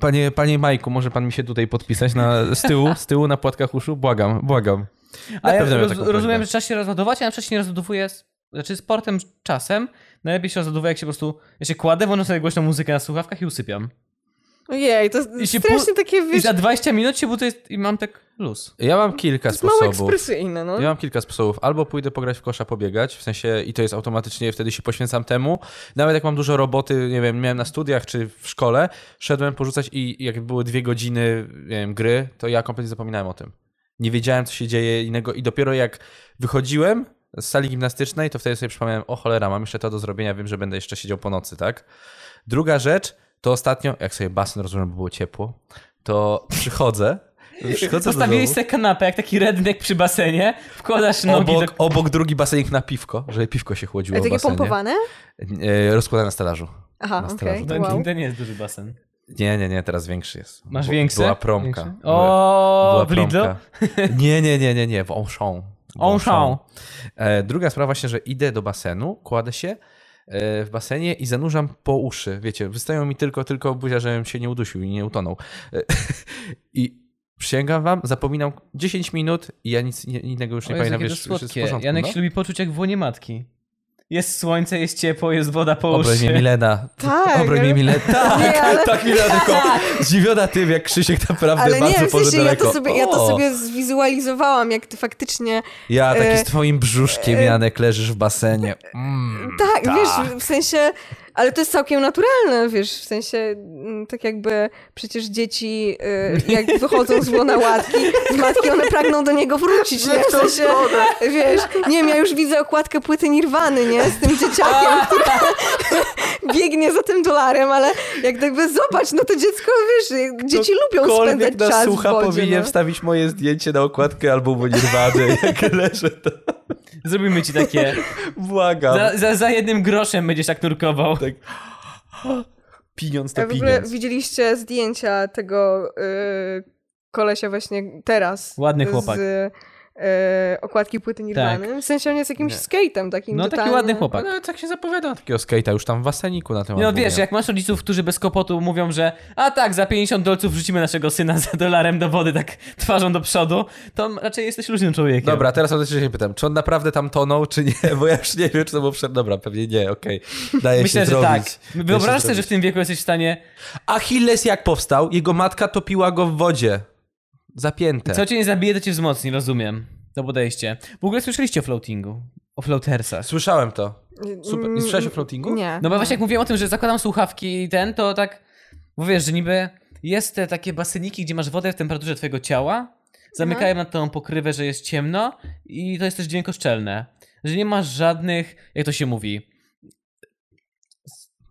Panie, panie Majku, może pan mi się tutaj podpisać na, z tyłu, z tyłu na płatkach uszu? Błagam, błagam.
Ale
pewno miał
roz,
taką prośbę.
rozumiem, że trzeba się rozładować, a ja na przykład się nie rozładowuję, z, znaczy sportem czasem. Najlepiej się rozładowuję, jak się po prostu, ja się kładę, włączam sobie głośną muzykę na słuchawkach i usypiam.
Ojej, to
I się
strasznie
pu-
takie,
I
wiesz,
za 20 minut się budzę i mam tak luz.
Ja mam kilka
mało
sposobów.
ekspresyjne, no.
Ja mam kilka sposobów. Albo pójdę pograć w kosza, pobiegać, w sensie i to jest automatycznie, wtedy się poświęcam temu. Nawet jak mam dużo roboty, nie wiem, miałem na studiach czy w szkole, szedłem porzucać i jak były dwie godziny nie wiem, gry, to ja kompletnie zapominałem o tym. Nie wiedziałem, co się dzieje innego i dopiero jak wychodziłem z sali gimnastycznej, to wtedy sobie przypomniałem, o cholera, mam jeszcze to do zrobienia, wiem, że będę jeszcze siedział po nocy, tak? Druga rzecz, to ostatnio, jak sobie basen rozumiem, bo było ciepło, to przychodzę, przychodzę do domu.
Postawiłeś sobie kanapę, jak taki redneck przy basenie, wkładasz nogi tak-
Obok,
do...
obok drugi basenik na piwko, żeby piwko się chłodziło
Ale
w
takie
basenie.
pompowane?
E, rozkładane na stelażu.
Aha,
Na
okej,
straży.
To,
wow.
to nie jest duży basen.
Nie, nie, nie, teraz większy jest.
Masz
Bu-
większy?
Była promka.
Większy?
Była-
O,
była
w Lidlo?
promka. Nie, nie, nie, nie, nie, w Auchan. W
Auchan.
Auchan. E, druga sprawa właśnie, że idę do basenu, kładę się e, w basenie i zanurzam po uszy. Wiecie, wystają mi tylko, tylko buzia, żebym się nie udusił i nie utonął. E, I przysięgam wam, zapominam 10 minut i ja nic nie- innego już nie
O Jezu,
pamiętam.
jakie to
wiesz, już jest w
słodkie.
porządku,
Janek
no.
się lubi poczuć jak w łonie matki. Jest słońce, jest ciepło, jest woda po
Obraźnie
uszy.
Milena.
Tak,
Obroń
ale-
mnie Milena. Tak,
Nie, ale-
tak Milena tylko zdziwiona tym, jak Krzysiek naprawdę
Ale
bardzo
nie, w
położy
sensie ja
daleko.
to, sobie, ja to
O,
sobie zwizualizowałam, jak ty faktycznie...
Ja taki
e,
z twoim brzuszkiem, Janek, leżysz w basenie. Mm.
Tak, wiesz, w sensie... Ale to jest całkiem naturalne, wiesz, w sensie mm, tak jakby przecież dzieci y, jak wychodzą z łona łatki, z matki, one pragną do niego wrócić, nie? W sensie, wiesz, nie wiem, ja już widzę okładkę płyty Nirwany, nie? Z tym dzieciakiem, który biegnie za tym dolarem, ale jak gdyby zobacz, no to dziecko, wiesz, dzieci lubią spędzać
nas
czas
słucha,
w wodzie,
powinien
no.
wstawić moje zdjęcie na okładkę albumu Nirwany, jak leżę to.
Zrobimy ci takie.
Błagam.
Za, za, za jednym groszem będziesz tak nurkował.
Tak. Pieniądz
A
to
w ogóle
pieniądz.
widzieliście zdjęcia tego y, kolesia właśnie teraz.
Ładny chłopak. Tak.
Z y, okładki płyty Nirwany. W sensie on jest jakimś
Nie.
skate'em takim
No taki
totalnie.
ładny chłopak.
Ale tak się zapowiada takiego skate'a już tam w Aseniku na tym
No
albumie.
wiesz, jak masz rodziców, którzy bez kopotu mówią, że a tak, za 50 dolców wrzucimy naszego syna za dolarem do wody, tak twarzą do przodu, to raczej jesteś luźnym człowiekiem.
Dobra, teraz o się pytam, czy on naprawdę tam tonął, czy nie? Bo ja już nie wiem, czy to było przed... Dobra, pewnie nie, okej. Daje
Myślę,
się
że
zrobić.
tak.
Daje
Wyobraź
się
sobie, że
zrobić.
w tym wieku jesteś w stanie.
Achilles jak powstał? Jego matka topiła go w wodzie. Zapięte.
Co cię nie zabije, to cię wzmocni, rozumiem. To podejście. W ogóle słyszeliście o floatingu, o floatersach.
Słyszałem to. Super.
Mm,
Nie słyszałeś o floatingu?
Nie.
No bo właśnie jak mówiłem o tym, że zakładam słuchawki i ten, to tak, bo wiesz, że niby jest te takie baseniki, gdzie masz wodę w temperaturze twojego ciała, zamykają nad tą pokrywę, że jest ciemno i to jest też dźwiękoszczelne. Że nie masz żadnych, jak to się mówi,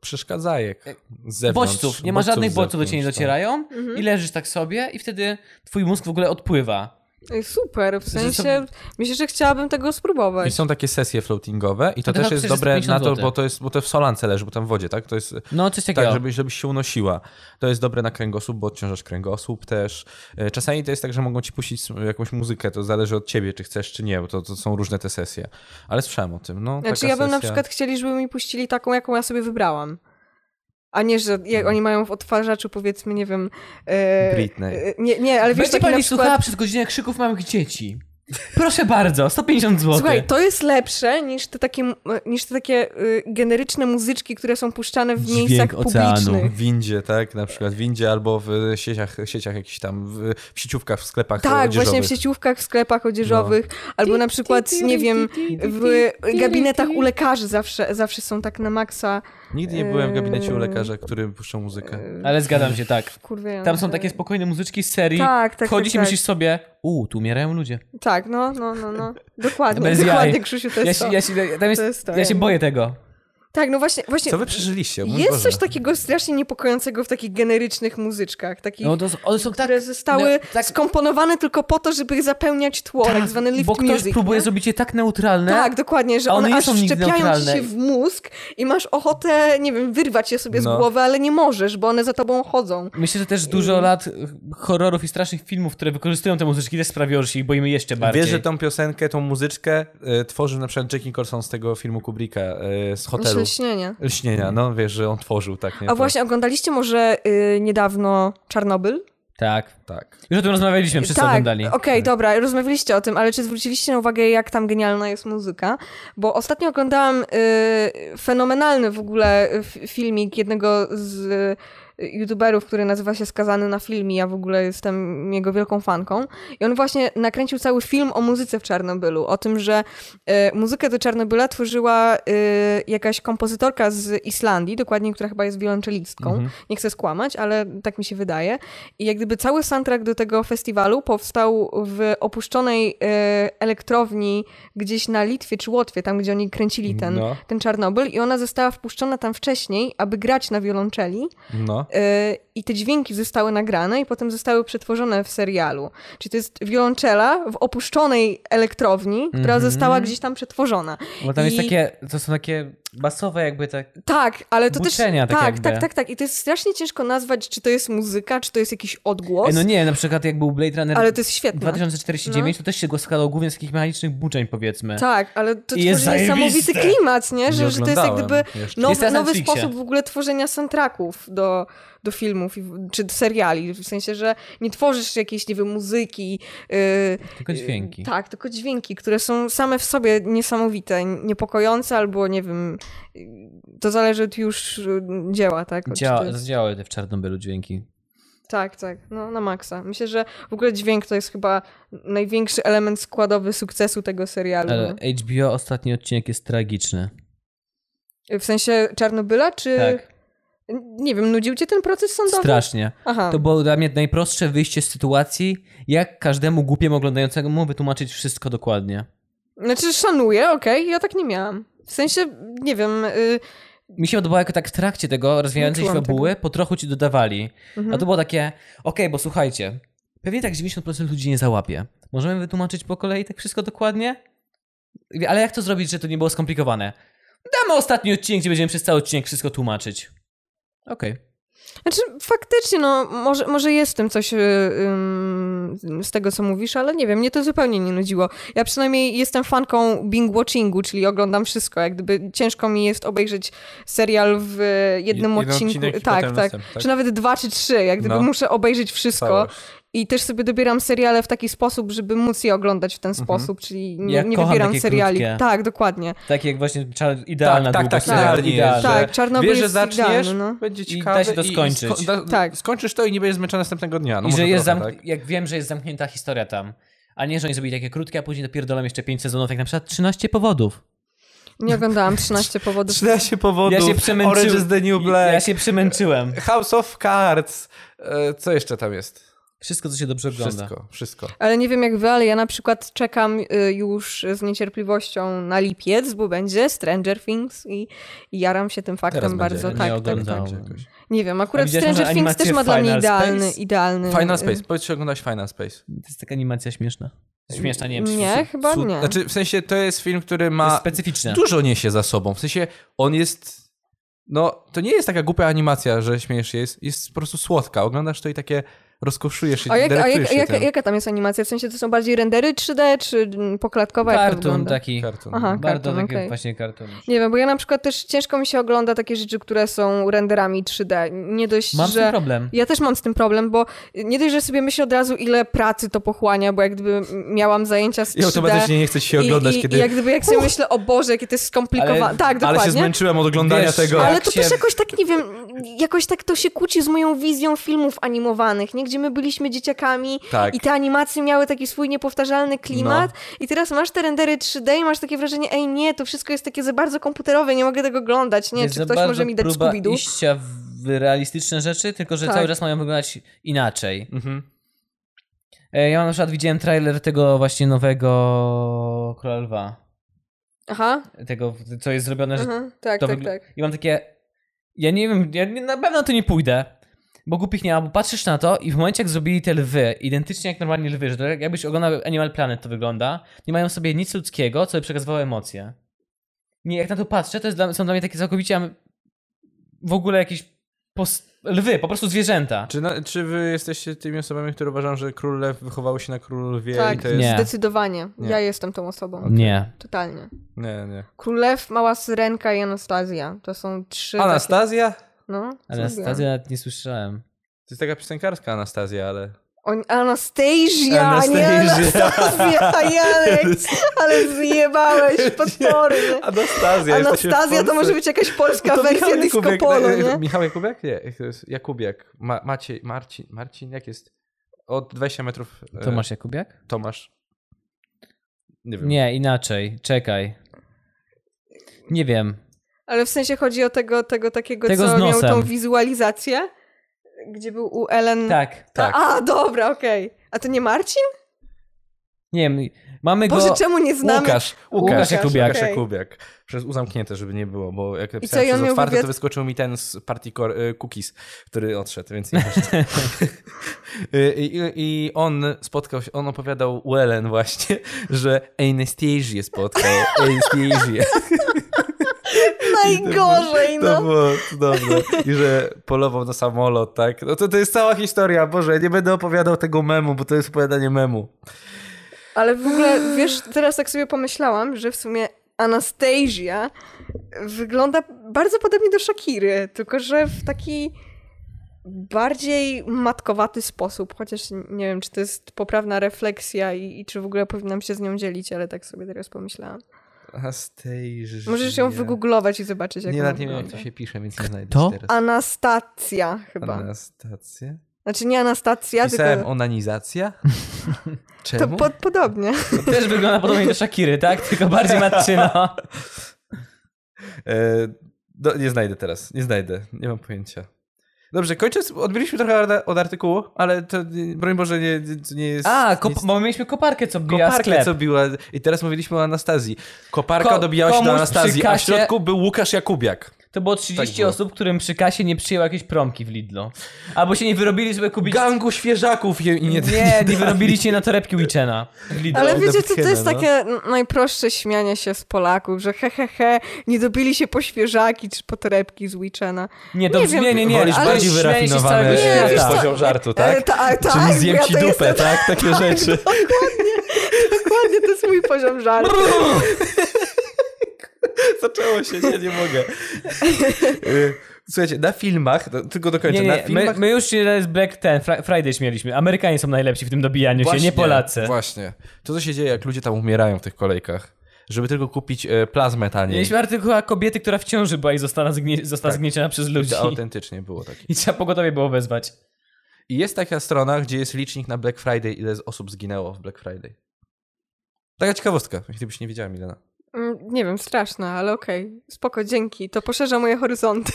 Przeszkadzajek. Z
E,
zewnątrz.
bodźców. Nie ma żadnych
z
bodźców do ciebie nie
zewnątrz, tak.
docierają
Mhm.
i leżysz tak sobie i wtedy twój mózg w ogóle odpływa.
Ej, Y, Super, w
Że
sensie
są-
myślę, że chciałabym tego
tak. I
spróbować.
są takie sesje floatingowe i to
To
też
chyba
jest
450
dobre na to,
złotych.
bo to jest, bo to w solance leży, bo tam w wodzie, tak? To jest
No coś takiego.
tak, żebyś, żebyś się unosiła. To jest dobre na kręgosłup, bo odciążasz kręgosłup też. E, Czasami to jest tak, że mogą ci puścić s- jakąś muzykę, to zależy od ciebie, czy chcesz, czy nie, bo to, to są różne te sesje. Ale słyszałem o tym, no.
Znaczy
taka
ja bym
sesja.
na przykład chcieli, żeby mi puścili taką, jaką ja sobie wybrałam. A nie, że jak oni mają w odtwarzaczu powiedzmy, nie wiem... e,
Britney.
e, nie, nie, ale wiesz,
Będzie
taki na
pani słuchała
przykład...
przez godzinę krzyków małych dzieci. Proszę bardzo, 150 zł.
Słuchaj, to jest lepsze niż te takie, m- niż te takie y, generyczne muzyczki, które są puszczane w
Dźwięk
miejscach
oceanu.
publicznych.
W windzie, tak? Na przykład w windzie albo w sieciach, sieciach jakichś tam, w, w sieciówkach, w sklepach
Tak,
odzieżowych.
właśnie w sieciówkach, w sklepach odzieżowych,
No.
albo na przykład, nie wiem, w gabinetach u lekarzy zawsze, zawsze są tak na maksa.
Nigdy nie byłem w gabinecie u lekarza, który puszczał muzykę.
Ale zgadzam się, tak.
Kurwa,
Tam są takie spokojne muzyczki z serii.
Tak, tak,
Wchodzisz
tak,
i
tak.
myślisz sobie, u, tu umierają ludzie.
Tak, no, no, no, no. Dokładnie,
Bez jaj.
dokładnie, Krzysiu, to
Ja
jest
się,
to.
ja się, tam jest,
To jest to,
ja się
ja-
boję tego.
Tak, no właśnie, właśnie
Co wy przeżyliście? Mój
jest
Boże.
coś takiego strasznie niepokojącego w takich generycznych muzyczkach, takich
No, to, są- one są tak...
które zostały
no, tak-
skomponowane tylko po to, żeby zapełniać tło, tak zwany lift
bo ktoś
music.
próbuje
nie?
zrobić je tak neutralne.
Tak, dokładnie, że
A
one,
one nie
aż
są nigdy
wszczepiają ci
neutralne.
się w mózg i masz ochotę, nie wiem, wyrwać je sobie
No.
z głowy, ale nie możesz, bo one za tobą chodzą.
Myślę, że też dużo
Mm.
lat y, horrorów i strasznych filmów, które wykorzystują te muzyczki, też sprawiło, że się ich boimy jeszcze bardziej.
Wiesz, że tą piosenkę, tą muzyczkę e, tworzył na przykład Jack Nicholson z tego filmu Kubricka, e, z hotelu.
Śnienie.
Lśnienia, no wiesz, że on tworzył, tak? Nie?
A właśnie, oglądaliście może y, niedawno Czarnobyl?
Tak.
To, tak.
Już o tym rozmawialiśmy, wszyscy
tak,
oglądali.
okej, dobra, rozmawialiście o tym, ale czy zwróciliście na uwagę, jak tam genialna jest muzyka? Bo ostatnio oglądałam y, fenomenalny w ogóle f- filmik jednego z y, youtuberów, który nazywa się Skazany na filmie, ja w ogóle jestem jego wielką fanką. I on właśnie nakręcił cały film o muzyce w Czarnobylu, o tym, że y, muzykę do Czarnobyla tworzyła y, jakaś kompozytorka z Islandii, dokładnie, która chyba jest wiolonczelistką. Nie chcę skłamać, ale tak mi się wydaje. I jak gdyby cały soundtrack do tego festiwalu powstał w opuszczonej e, elektrowni gdzieś na Litwie czy Łotwie, tam gdzie oni kręcili ten,
No.
ten Czarnobyl i ona została wpuszczona tam wcześniej, aby grać na wiolonczeli
No.
e, i te dźwięki zostały nagrane i potem zostały przetworzone w serialu. Czyli to jest wiolonczela w opuszczonej elektrowni, która została gdzieś tam przetworzona.
Mhm. Bo tam jest
I-
takie, to są takie basowe jakby tak...
Tak, ale to
Buczenia
też...
tak
tak,
jakby.
tak, tak, tak. I to jest strasznie ciężko nazwać, czy to jest muzyka, czy to jest jakiś odgłos.
Ej, no nie, na przykład jak był Blade Runner
Ale to jest świetne.
2049, to też się go składało głównie z takich mechanicznych buczeń powiedzmy.
Tak, ale to
I jest
tworzy niesamowity
zajebiste.
klimat, nie? Że,
Nie
że to jest jak
oglądałem
gdyby
jeszcze.
Jest
nowy,
teraz na
nowy
Netflixie.
sposób w ogóle tworzenia soundtracków do, do filmów i, w- czy do seriali. W sensie, że nie tworzysz jakiejś, nie wiem, muzyki. Yy,
Tylko dźwięki.
tak, tylko dźwięki, które są same w sobie niesamowite, niepokojące albo, nie wiem, yy, to zależy od już yy, dzieła, tak? Od-
Dzia-
to jest-
Zdziałały te w Czarnobylu dźwięki.
tak, tak, no na maksa. Myślę, że w ogóle dźwięk to jest chyba największy element składowy sukcesu tego serialu.
Ale HBO ostatni odcinek jest tragiczny.
W sensie Czarnobyla, czy...
Tak.
Nie wiem, nudził cię ten proces sądowy?
Strasznie.
Aha.
To było dla mnie najprostsze wyjście z sytuacji, jak każdemu głupiemu oglądającemu wytłumaczyć wszystko dokładnie.
Znaczy szanuję, okej, ja tak nie miałam. W sensie, nie wiem, y,
Mi się podobało, jak tak w trakcie tego rozwijającej się
czułam
fabuły po trochu ci dodawali.
mhm.
A to było takie, okej, bo słuchajcie, pewnie tak 90% ludzi nie załapie. Możemy wytłumaczyć po kolei tak wszystko dokładnie? Wie- Ale jak to zrobić, że to nie było skomplikowane? Damy ostatni odcinek, gdzie będziemy przez cały odcinek wszystko tłumaczyć. Okej.
Znaczy, faktycznie, no, może, może jest w tym coś y, ym, z tego, co mówisz, ale nie wiem, mnie to zupełnie nie nudziło. Ja przynajmniej jestem fanką binge-watchingu, czyli oglądam wszystko. Jak gdyby ciężko mi jest obejrzeć serial w y, jednym
Jeden
odcinku.
odcinek i
tak,
potem
tak.
następny, tak.
Czy nawet dwa czy trzy. Jak gdyby
No.
muszę obejrzeć wszystko.
Całość.
I też sobie dobieram seriale w taki sposób, żeby móc je oglądać w ten
Mhm.
sposób, czyli nie,
Ja
nie
kocham
wybieram
takie
seriali.
krótkie.
Tak, dokładnie.
Tak jak właśnie czar- idealna
tak, tak,
długość
tak,
serialu,
idealnie jest,
idealna.
Tak, Czarnobyl
wiesz, że
jest
zaczniesz,
idealny, no.
będzie
I da
ciekawe
się to skończyć.
sko- da-
Tak.
Skończysz to i nie będziesz zmęczony następnego dnia. No
I
może
że jest
trochę,
zamk- jak wiem, że jest zamknięta historia tam. A nie, że oni zrobili takie krótkie, a później dopierdolam jeszcze 5 sezonów, jak na przykład 13 powodów.
Nie oglądałam 13 powodów.
13 powodów,
Ja się przemęczyłem.
Orange is the New Black,
Ja się przemęczyłem.
House of Cards, e, co jeszcze tam jest?
Wszystko, co się dobrze ogląda.
Wszystko, wszystko.
Ale nie wiem jak wy, ale ja na przykład czekam y, już z niecierpliwością na lipiec, bo będzie Stranger Things i, i jaram się tym faktem
Teraz będzie,
bardzo.
nie
tak, tak, tak.
oglądałem.
Nie wiem,
A
akurat
widziałeś
Stranger
może
Things też ma
animację
dla mnie
Final
idealny,
Space?
idealny...
Final
y,
Space, powiedz, czy oglądasz Final Space.
To jest taka animacja śmieszna. Śmieszna, nie wiem.
Nie, chyba
Cud-
nie.
Znaczy, w sensie to jest film, który
To jest
ma...
specyficzne.
Dużo niesie za sobą, w sensie on jest... No, to nie jest taka głupia animacja, że śmiejesz się, jest, jest po prostu słodka. Oglądasz to i takie rozkoszujesz się,
A, jak, a
delektujesz
jak,
się
jaka-
tym.
jaka tam jest animacja? W sensie to są bardziej rendery 3D, czy mm, poklatkowa? jak to
Kartun
wygląda?
taki.
No, Kartun.
Aha,
Bardzo
kartun,
taki
okej.
właśnie kartun.
Nie wiem, bo ja na przykład też ciężko mi się ogląda takie rzeczy, które są renderami 3D. Nie dość,
Mam z tym
że...
problem.
Ja też mam z tym problem, bo nie dość, że sobie myślę od razu, ile pracy to pochłania, bo jak gdyby miałam zajęcia z 3D...
I automatycznie nie chce ci się oglądać,
I, i,
kiedy...
I jak gdyby, jak sobie myślę, o Boże, jakie to jest skomplikowane.
Ale-
tak,
Ale
dokładnie.
się zmęczyłem od oglądania
Wiesz,
tego.
jak
Ale to
się-
też jakoś tak, nie wiem, jakoś tak to się kłóci z moją wizją filmów animowanych, nie? Gdzie my byliśmy dzieciakami
Tak.
i te animacje miały taki swój niepowtarzalny klimat
No.
i teraz masz te rendery 3D i masz takie wrażenie, ej nie, to wszystko jest takie za bardzo komputerowe, nie mogę tego oglądać, nie?
Jest
Czy
za
ktoś
bardzo
może mi dać
próba
Scooby-Doo?
iścia w realistyczne rzeczy, tylko że
Tak.
cały czas mają wyglądać inaczej.
Mhm.
E, Ja na przykład widziałem trailer tego właśnie nowego Króla Lwa.
Aha,
Tego, co jest zrobione, że
aha,
Znaczy,
tak,
to
tak,
wygl-
tak.
I mam takie. Ja nie wiem, ja nie, na pewno na to nie pójdę. Bo głupich nie ma, bo patrzysz na to i w momencie jak zrobili te lwy, identycznie jak normalnie lwy, że to jak- jakbyś oglądał Animal Planet to wygląda, nie mają w sobie nic ludzkiego, co by przekazywało emocje. Nie, jak na to patrzę, to jest dla, są dla mnie takie całkowicie am- w ogóle jakieś pos- lwy, po prostu zwierzęta.
Czy, na, czy wy jesteście tymi osobami, które uważają, że król lew wychowały się na królu lwie i
Tak,
to jest...
Nie.
zdecydowanie.
Nie.
Ja jestem tą osobą.
Nie.
Totalnie.
nie. nie.
Królew, Mała Syrenka i Anastazja. To są trzy takie...
Anastazja?
No, co
Anastazja nawet nie słyszałem.
To jest taka piosenkarska Anastazja, ale...
On, Anastasia, nie
Anastasia.
Anastazja, Janek, ale zjebałeś, potworny.
Anastazja, jesteśmy w
Anastazja to
Polsce.
może być jakaś polska
To
wersja
Michał
disco
Jakubiak,
polo,
e,
nie?
Michał Jakubiak? Nie, to jest Jakubiak. Ma, Maciej, Marcin, Marcin, jak jest? Od 20 metrów... e,
Tomasz Jakubiak?
Tomasz. Nie wiem.
Nie, inaczej. Czekaj. Nie wiem.
Ale w sensie chodzi o tego, tego takiego,
Tego
co
z
miał
nosem.
tą wizualizację, gdzie był u Ellen...
Tak.
Tak.
A, dobra, okej. A to nie Marcin?
Nie wiem. Mamy go...
Boże, czemu nie znamy?
Łukasz, Łukasz,
Łukasz
Łukasz Jakubiak.
Jakubiak.
Łukasz
Okej.
Jakubiak. Przez uzamknięte, żeby nie było, bo jak
co, i
napisałem
on
przez
miał
otwarte,
wywiad?
to wyskoczył mi ten z party core, y, cookies, który odszedł, więc nie wiem. E, I, i, I on spotkał się, on opowiadał Wellen właśnie, że Anastasia spotkał. Anastasia.
Najgorzej,
To
no.
było cudowne. I że polował na samolot, tak? No to, to jest cała historia, Boże, nie będę opowiadał tego memu, bo to jest opowiadanie memu.
Ale w ogóle, wiesz, teraz tak sobie pomyślałam, że w sumie Anastasia wygląda bardzo podobnie do Shakiry, tylko że w taki bardziej matkowaty sposób, chociaż nie wiem, czy to jest poprawna refleksja i, i czy w ogóle powinnam się z nią dzielić, ale tak sobie teraz pomyślałam.
Anastasia.
Możesz ją wygooglować i zobaczyć, jak
Nie,
ona
nawet nie wiem, jak to
wygląda.
się pisze, więc nie znajdę
Kto?
teraz.
Anastacja chyba.
Anastacja?
Znaczy nie Anastacja,
Pisałem
tylko...
onanizacja?
To
Czemu?
po, podobnie.
Też
Tak.
wygląda podobnie do Shakiry, tak? Tylko bardziej matczyno.
E, Do, nie znajdę teraz, nie znajdę, nie mam pojęcia. Dobrze, kończąc, odbiliśmy trochę od- od artykułu, ale to, nie- broń Boże, nie, nie- to nie jest...
A,
nic-
kop- bo mieliśmy koparkę, co bija
Koparkę,
sklep.
co biła. I teraz mówiliśmy o Anastazji. Koparka
Ko-
dobijała się
komuś
do
przy
Anastazji, a w
kasie-
środku był Łukasz Jakubiak.
To było 30
Tak było.
osób, którym przy kasie nie przyjęło jakieś promki w Lidlo. Albo się nie wyrobili sobie kubić...
Gangu świeżaków je, i nie...
Nie, nie, wyrobili się na torebki Wichena w Lidlo.
Ale
Dawida
wiecie, co, to
Pchena,
jest
no.
takie n- najprostsze śmianie się z Polaków, że he, he, he, nie dobili się po świeżaki czy po torebki z Wichena.
Nie, to
Nie
brzmi,
wiem.
nie, nie, nie.
Wolisz
ale
bardziej
śmieje się z całego
wyrafinowane
Nie,
świata.
wiesz co?
E, poziom żartu,
E,
tak?
ta,
Czy
tak,
zjem
ja
ci
to
dupę,
jestem-
tak? Takie rzeczy.
Dokładnie, to jest mój poziom żartu.
Zaczęło się, nie, nie mogę. Y, Słuchajcie, na filmach, no, tylko dokończę,
Nie,
na
nie, my,
filmach...
my już się z Black ten, Fri- Friday śmieliśmy. Amerykanie są najlepsi w tym dobijaniu się, nie Polacy.
Właśnie. To, co się dzieje, jak ludzie tam umierają w tych kolejkach, żeby tylko kupić e, plazmę taniej.
Mieliśmy artykuł o kobiety, która w ciąży była i została, zgnie- została zgnieciona przez ludzi.
Tak. To autentycznie było takie.
I trzeba pogotowie było wezwać.
I jest taka strona, gdzie jest licznik na Black Friday, ile z osób zginęło w Black Friday. Taka ciekawostka, jeśli byś nie wiedziała, Milena.
Mm, Nie wiem, straszne, ale okej. Spoko, dzięki. To poszerza moje horyzonty.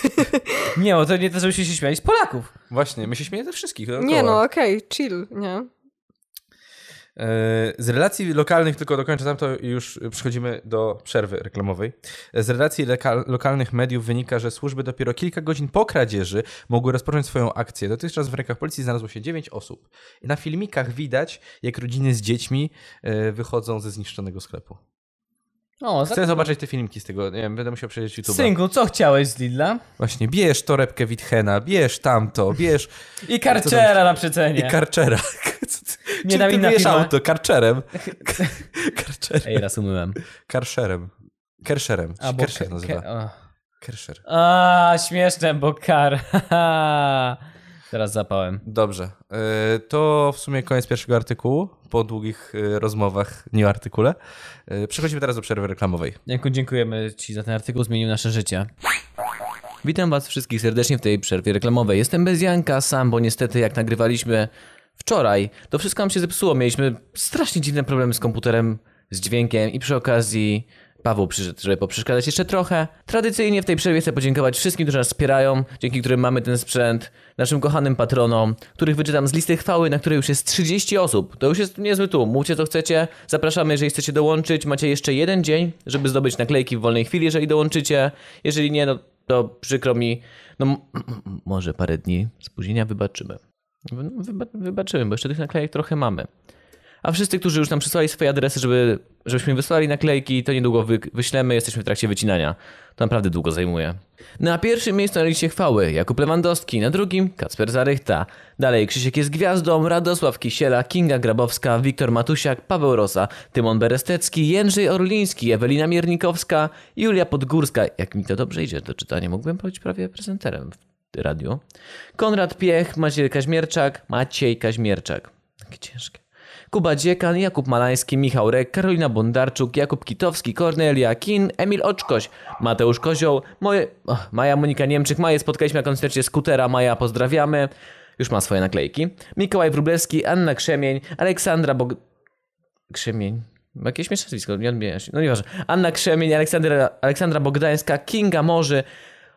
Nie, bo to nie to, żebyśmy się śmiali z Polaków.
Właśnie, my się śmiejemy ze wszystkich. dookoła.
Nie no, okej, chill, nie?
E, Z relacji lokalnych, tylko dokończę tam, to już przechodzimy do przerwy reklamowej. E, Z relacji leka- lokalnych mediów wynika, że służby dopiero kilka godzin po kradzieży mogły rozpocząć swoją akcję. Dotychczas w rękach policji znalazło się 9 osób. Na filmikach widać, jak rodziny z dziećmi e, wychodzą ze zniszczonego sklepu.
O,
No tak,
Chcę zobaczyć te filmiki z tego, nie wiem, będę musiał przejrzeć YouTube.
Synku, co chciałeś z Lidla?
Właśnie, bierz torebkę Witchena, bierz tamto, bierz
I karczera na przycenie.
i karczera. Co ty-
Nie,
Czym
na
ty
inna
bierz
firma.
auto? Karczerem. Karczerem.
Ej, raz umyłem.
Karszerem. Kerszerem. Czy
Albo
Kerszer
ke-
nazywa.
ke- o.
Kerszer.
A, śmieszne, bo kar. Teraz zapałem.
Dobrze. E, To w sumie koniec pierwszego artykułu. Po długich e, rozmowach, nie o artykule. E, Przechodzimy teraz do przerwy reklamowej.
Janku, dziękujemy Ci za ten artykuł, zmienił nasze życie. Witam Was wszystkich serdecznie w tej przerwie reklamowej. Jestem bez Janka sam, bo niestety jak nagrywaliśmy wczoraj, to wszystko nam się zepsuło. Mieliśmy strasznie dziwne problemy z komputerem, z dźwiękiem i przy okazji Paweł przyszedł, żeby poprzeszkadzać jeszcze trochę. Tradycyjnie w tej przerwie chcę podziękować wszystkim, którzy nas wspierają, dzięki którym mamy ten sprzęt, naszym kochanym patronom, których wyczytam z listy chwały, na której już jest 30 osób. To już jest niezły tłum. Mówcie co chcecie. Zapraszamy, jeżeli chcecie dołączyć. Macie jeszcze jeden dzień, żeby zdobyć naklejki w wolnej chwili, jeżeli dołączycie. Jeżeli nie, no to przykro mi. No m- m- może parę dni spóźnienia wybaczymy. No, Wyba wybaczymy, bo jeszcze tych naklejek trochę mamy. A wszyscy, którzy już nam przysłali swoje adresy, żeby, żebyśmy wysłali naklejki, to niedługo wy, wyślemy, jesteśmy w trakcie wycinania. To naprawdę długo zajmuje. Na pierwszym miejscu na liście chwały Jakub Lewandowski, na drugim Kacper Zarychta. Dalej Krzysiek jest gwiazdą, Radosław Kisiela, Kinga Grabowska, Wiktor Matusiak, Paweł Rosa, Tymon Berestecki, Jędrzej Orliński, Ewelina Miernikowska, Julia Podgórska. Jak mi to dobrze idzie to czytanie, mógłbym być prawie prezenterem w radiu. Konrad Piech, Maciej Kaźmierczak, Maciej Kaźmierczak. Takie ciężkie. Kuba Dziekan, Jakub Malański, Michał Rek, Karolina Bondarczuk, Jakub Kitowski, Kornelia Kin, Emil Oczkoś, Mateusz Kozioł, moje, och, Maja Monika Niemczyk, Maję spotkaliśmy na koncercie Skutera, Maja pozdrawiamy, już ma swoje naklejki, Mikołaj Wróblewski, Anna Krzemień, Aleksandra Bog... Krzemień. Jakieś śmieszne nazwisko, nie odmienia się. No nieważne. Anna Krzemień, Aleksandra, Aleksandra Bogdańska, Kinga Morzy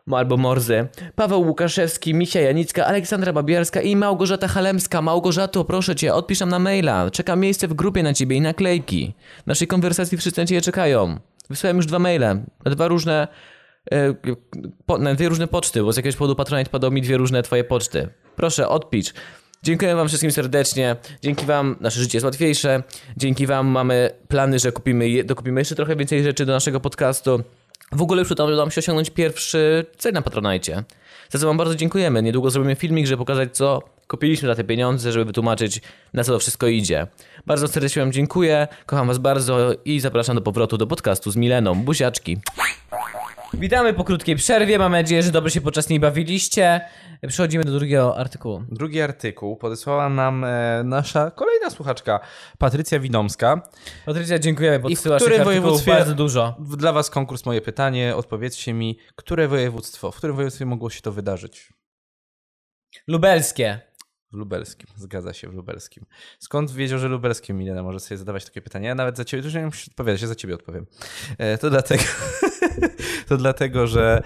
m- albo Morze, Paweł Łukaszewski, Misia Janicka, Aleksandra Babiarska i Małgorzata Halemska. Małgorzato, proszę cię, odpisz nam na maila. Czekam miejsce w grupie na ciebie i naklejki. Naszej konwersacji wszyscy na ciebie czekają. Wysłałem już dwa maile na dwa różne... e, Po, na dwie różne poczty, bo z jakiegoś powodu Patronite padał mi dwie różne twoje poczty. Proszę, odpisz. Dziękuję wam wszystkim serdecznie. Dzięki wam nasze życie jest łatwiejsze. Dzięki wam mamy plany, że kupimy, je- dokupimy jeszcze trochę więcej rzeczy do naszego podcastu. W ogóle już udało nam się osiągnąć pierwszy cel na Patronajcie. Za co wam bardzo dziękujemy. Niedługo zrobimy filmik, żeby pokazać co kupiliśmy za te pieniądze, żeby wytłumaczyć na co to wszystko idzie. Bardzo serdecznie wam dziękuję. Kocham was bardzo i zapraszam do powrotu do podcastu z Mileną. Buziaczki. Witamy po krótkiej przerwie. Mam nadzieję, że dobrze się podczas niej bawiliście. Przechodzimy do drugiego artykułu.
Drugi artykuł podesłała nam e, nasza kolejna słuchaczka, Patrycja Winomska.
Patrycja, dziękujemy,
I w
podsyłasz
którym
tych artykułów
województwie-
bardzo dużo.
W- Dla was konkurs, moje pytanie. Odpowiedzcie mi, które województwo, w którym województwie mogło się to wydarzyć?
Lubelskie.
W lubelskim, zgadza się, w lubelskim. Skąd wiedział, że lubelskim, Milena, może sobie zadawać takie pytania? Ja nawet za ciebie, już nie musisz odpowiadać, ja za ciebie odpowiem. E, to dlatego, to dlatego, że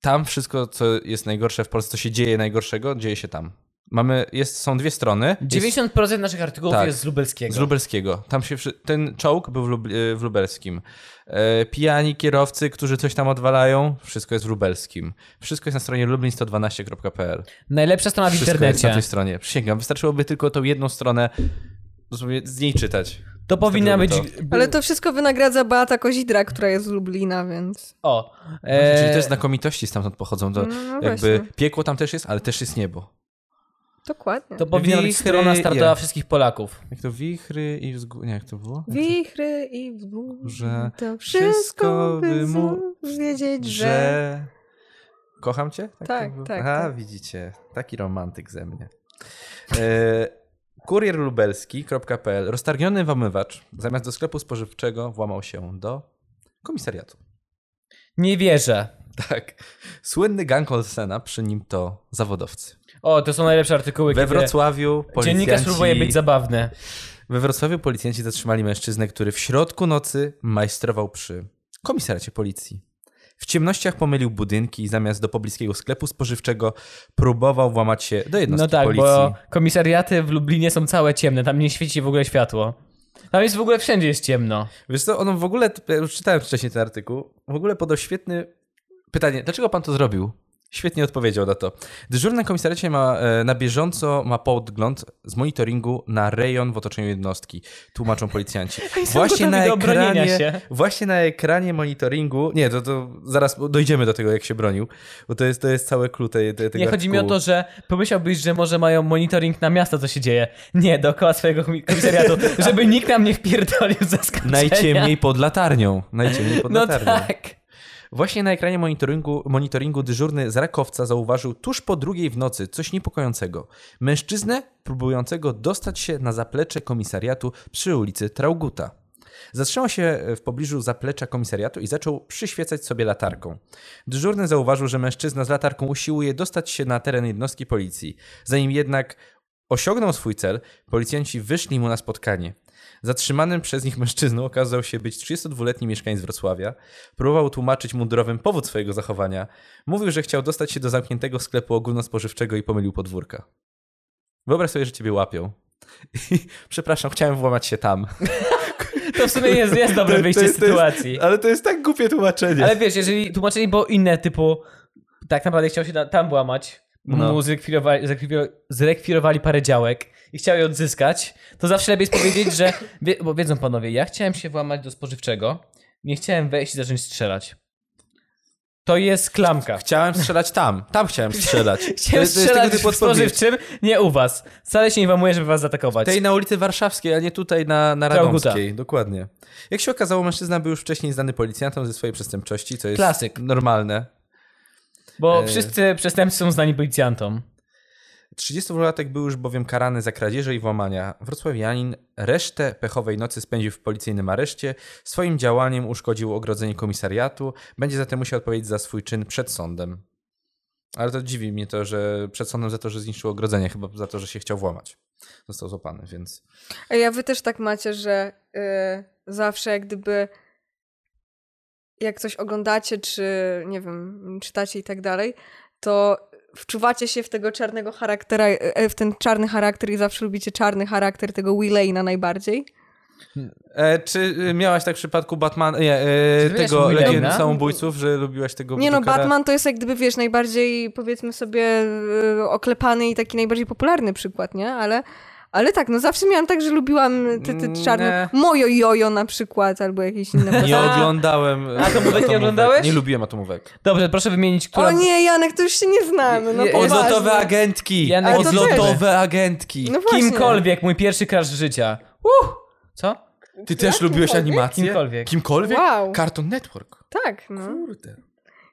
tam wszystko, co jest najgorsze w Polsce, co się dzieje najgorszego, dzieje się tam. Mamy, jest, są dwie strony. Jest
90% naszych artykułów
Tak.
jest z lubelskiego.
z Lubelskiego. Tam się wszy... Ten czołg był w, Lub... e, w Lubelskim. E, Pijani kierowcy, którzy coś tam odwalają, wszystko jest w Lubelskim. Wszystko jest na stronie lublin112.pl.
Najlepsza strona w
Wszystko jest na
internecie.
tej stronie. Przysięgam, wystarczyłoby tylko tą jedną stronę dosłownie z niej czytać.
To powinna być...
Wystarczyłoby
Ale to wszystko wynagradza Beata Kozidra, która jest z Lublina, więc...
O.
Czyli
E...
te znakomitości stamtąd pochodzą. To
No, no
jakby
właśnie.
piekło tam też jest, ale też jest niebo.
Dokładnie.
To powinna być
Wichry
strona startowa
je. wszystkich
wszystkich Polaków.
Jak to wichry i wzgórze. Nie, jak to było?
Wichry i wzgórze,
Że
to
wszystko
wszystko by
by mu-
mógł wiedzieć, że...
że... Kocham cię?
Tak,
to było?
tak,
Aha,
tak.
widzicie. Taki romantyk ze mnie. E, kurierlubelski.pl Roztargniony wamywacz zamiast do sklepu spożywczego włamał się do komisariatu.
Nie wierzę.
Tak. Słynny gang Olsena, przy nim to zawodowcy.
O, to są najlepsze artykuły,
We
kiedy
Wrocławiu policjanci...
dziennikarz próbuje być zabawny.
We Wrocławiu policjanci zatrzymali mężczyznę, który w środku nocy majstrował przy komisariacie policji. W ciemnościach pomylił budynki i zamiast do pobliskiego sklepu spożywczego próbował włamać się do
No
jednostki
tak,
policji.
bo komisariaty w Lublinie są całe ciemne, tam nie świeci w ogóle światło. Tam jest w ogóle wszędzie jest ciemno.
Wiesz co, on w ogóle, ja już czytałem wcześniej ten artykuł, w ogóle podał świetny pytanie, dlaczego pan to zrobił? Świetnie odpowiedział na to. Dyżur na komisariacie ma e, na bieżąco ma podgląd z monitoringu na rejon w otoczeniu jednostki, tłumaczą policjanci.
są gotowi do obronienia się.
właśnie na ekranie monitoringu, nie, to, to zaraz dojdziemy do tego, jak się bronił, bo to jest, to jest całe clue tej, tej, tego
Nie chodzi mi o to,
artykułu.
że pomyślałbyś, że może mają monitoring na miasto, co się dzieje. Nie, dookoła swojego komi- komisariatu, żeby nikt nam nie wpierdolił z zaskoczenia.
Najciemniej pod latarnią. Najciemniej pod
No
latarnią.
tak.
Właśnie na ekranie monitoringu, monitoringu dyżurny z Rakowca zauważył tuż po drugiej w nocy coś niepokojącego. Mężczyznę próbującego dostać się na zaplecze komisariatu przy ulicy Trauguta. Zatrzymał się w pobliżu zaplecza komisariatu i zaczął przyświecać sobie latarką. Dyżurny zauważył, że mężczyzna z latarką usiłuje dostać się na teren jednostki policji. Zanim jednak osiągnął swój cel, policjanci wyszli mu na spotkanie. Zatrzymanym przez nich mężczyzną okazał się być 32-letni mieszkaniec Wrocławia. Próbował tłumaczyć mundurowym powód swojego zachowania. Mówił, że chciał dostać się do zamkniętego sklepu ogólnospożywczego i pomylił podwórka. Wyobraź sobie, że ciebie łapią. Przepraszam, chciałem włamać się tam.
To w sumie jest, jest dobre
To- to
wyjście z
jest- to jest-
sytuacji.
Ale to jest tak głupie tłumaczenie.
Ale wiesz, jeżeli tłumaczenie było inne, typu tak naprawdę chciał się na- tam włamać, bo
No.
mu zrekwirowali, zrekwiro- zrekwirowali parę działek i chciał je odzyskać, to zawsze lepiej jest powiedzieć, że wie, bo wiedzą panowie, ja chciałem się włamać do spożywczego, nie chciałem wejść i zacząć strzelać. To jest klamka.
Chciałem strzelać tam. Tam chciałem strzelać. To
Chciałem
jest- to jest
strzelać
tego typu
w
odpowiedź.
spożywczym, nie u was. Wcale się nie wamuję, żeby was zaatakować.
Tej na ulicy Warszawskiej, a nie tutaj na, na
Trauguta.
Radomskiej. Dokładnie. Jak się okazało, mężczyzna był już wcześniej znany policjantom ze swojej przestępczości, co jest
Klasyk.
normalne.
Bo
e-
wszyscy przestępcy są znani policjantom.
32-latek był już bowiem karany za kradzieże i włamania. Wrocławianin resztę pechowej nocy spędził w policyjnym areszcie. Swoim działaniem uszkodził ogrodzenie komisariatu. Będzie zatem musiał odpowiedzieć za swój czyn przed sądem. Ale to dziwi mnie to, że przed sądem za to, że zniszczył ogrodzenie, chyba za to, że się chciał włamać. Został złapany, więc...
Ej, A ja wy też tak macie, że y, zawsze jak gdyby jak coś oglądacie, czy nie wiem, czytacie i tak dalej, to wczuwacie się w tego czarnego charaktera, e, w ten czarny charakter i zawsze lubicie czarny charakter tego Willejna najbardziej.
E, czy y, miałaś tak w przypadku Batman, nie, e,
Czy ty
tego
miałaś
legendy
Wilhelmina?
samobójców, że lubiłaś tego
Nie no,
Jokera?
Batman to jest jak gdyby, wiesz, najbardziej powiedzmy sobie y, oklepany i taki najbardziej popularny przykład, nie? Ale, ale tak, no zawsze miałam tak, że lubiłam te, te czarne...
Mm, Nie.
Mojo Jojo na przykład, albo jakieś inne
Nie oglądałem. e,
Atomówek nie
atomówek.
oglądałeś?
Nie lubiłem atomówek.
Dobrze, proszę wymienić, która...
O nie, Janek, to już się nie znamy. No,
Je-
poważnie.
Odlotowe agentki!
Ja
Ale to
Odlotowe agentki!
No właśnie.
Kimkolwiek, mój pierwszy crush życia. Uh! Co?
Ty też lubiłeś animacje?
Kimkolwiek.
Kimkolwiek?
Wow.
Cartoon Network.
Tak, no.
Kurde.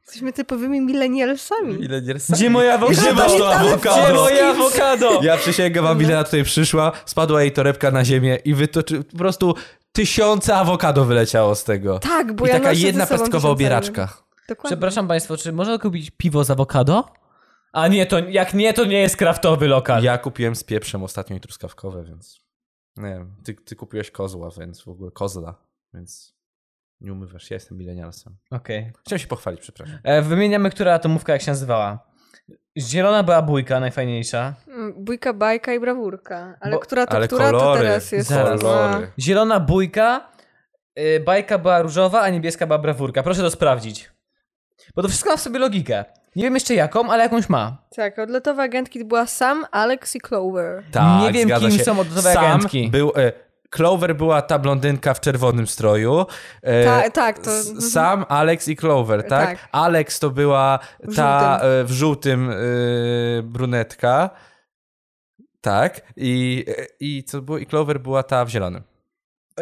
Jesteśmy typowymi
Hmm.
milenialsami.
Ile nie
Gdzie moje awokado?
Gdzie masz to awokado?
Gdzie moje awokado?
Ja przysięgam,
No.
wam Milena tutaj przyszła, spadła jej torebka na ziemię i wytoczy... Po prostu tysiące awokado wyleciało z tego.
Tak, bo
I
ja
taka
noszę ze
jedna
sobą
plastikowa
tysiące
obieraczka.
razy. Dokładnie.
Przepraszam państwa, czy można kupić piwo z awokado? A nie, to jak nie, to nie jest kraftowy lokal.
Ja kupiłem z pieprzem ostatnio i truskawkowe, więc. Nie wiem. Ty, ty kupiłeś kozła, więc w ogóle kozla, więc. Nie umywasz, ja jestem milenialsem.
Okej.
Chciałem się pochwalić, przepraszam.
E, Wymieniamy, która atomówka jak się nazywała. Zielona była bójka, najfajniejsza.
Mm, Bójka, bajka i brawurka. Ale
Bo-
która to,
Ale
która
kolory,
to teraz jest? No.
zaraz.
Kolory.
Zielona bójka, y, bajka była różowa, a niebieska była brawurka. Proszę to sprawdzić. Bo to wszystko ma w sobie logikę. Nie wiem jeszcze jaką, ale jakąś ma.
Tak, odlotowe agentki była Sam, Alex i Clover.
Nie wiem,
Tak, zgadza
kim są odlotowe
Sam
agentki.
Był, e, Clover była ta blondynka w czerwonym stroju. E,
Ta- tak, to-
s-
mhm.
Sam, Alex i Clover, tak?
Tak.
Alex to była
W
ta e, w żółtym e, brunetka. Tak. I, e, I co było? I Clover była ta w zielonym. E,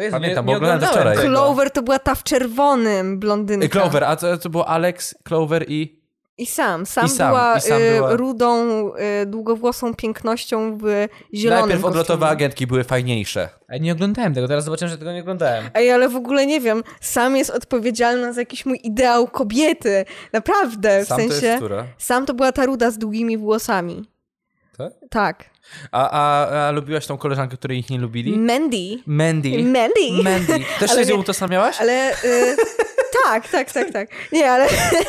O Jezu,
Pamiętam, bo oglądałem to wczoraj.
tego.
Clover to była ta w czerwonym
E,
blondynka.
Clover, a co, co było Alex, Clover i...
I Sam. Sam,
I Sam,
była,
i Sam
y,
była-
rudą, y, długowłosą pięknością w zielonym
Najpierw odlotowe
kostiumie.
agentki były fajniejsze.
Ej, Nie oglądałem tego, teraz zobaczyłem, że tego nie oglądałem.
Ej, ale w ogóle nie wiem, Sam jest odpowiedzialna za jakiś mój ideał kobiety. Naprawdę, w
Sam
sensie.
to jest która?
Sam to była ta ruda z długimi włosami.
Tak?
Tak.
A, a, a lubiłaś tą koleżankę, której ich nie
No,
lubili?
Mandy.
Mandy.
Mandy.
Mandy. Też
Ale
się z nią
nie-
utożsamiałaś?
Ale. Y, tak, tak, tak, tak. Nie, ale.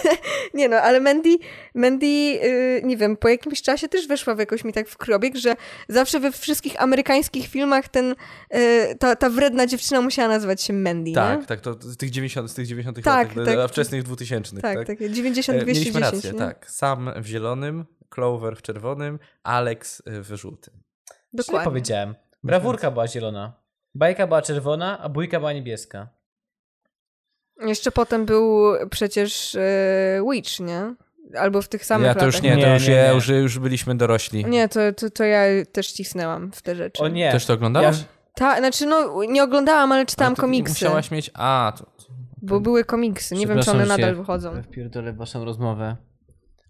nie no, ale Mandy, Mandy y, nie wiem, po jakimś czasie też weszła w jakoś mi tak w krobieg, że zawsze we wszystkich amerykańskich filmach ten, y, ta, ta wredna dziewczyna musiała nazywać się Mandy.
Tak,
nie?
tak, to z tych 90, z tych 90
Tak,
lat, do-
tak.
do wczesnych 2000 tak.
Tak, tak.
E,
90-210.
Mieliśmy rację,
nie?
tak. Sam w zielonym, Clover w czerwonym, Alex e, w żółtym.
Źle
Dokładnie.
powiedziałem. Brawurka była zielona. Bajka była czerwona, a bójka była niebieska.
Jeszcze potem był przecież e, Witch, nie? Albo w tych samych
ja to już
latach.
nie, to
Nie,
już,
nie,
ja-
nie.
Już, już byliśmy dorośli.
Nie, to, to, to ja też cisnęłam w te rzeczy.
O nie.
Też to oglądałaś?
Ja-
Ta, znaczy, no nie oglądałam, ale czytałam
Ale to
komiksy.
Musiałaś mieć... A, to...
Bo były komiksy. Nie wiem, czy one
Przepraszam, że
nadal
się
wychodzą.
Wpierdolę waszą rozmowę.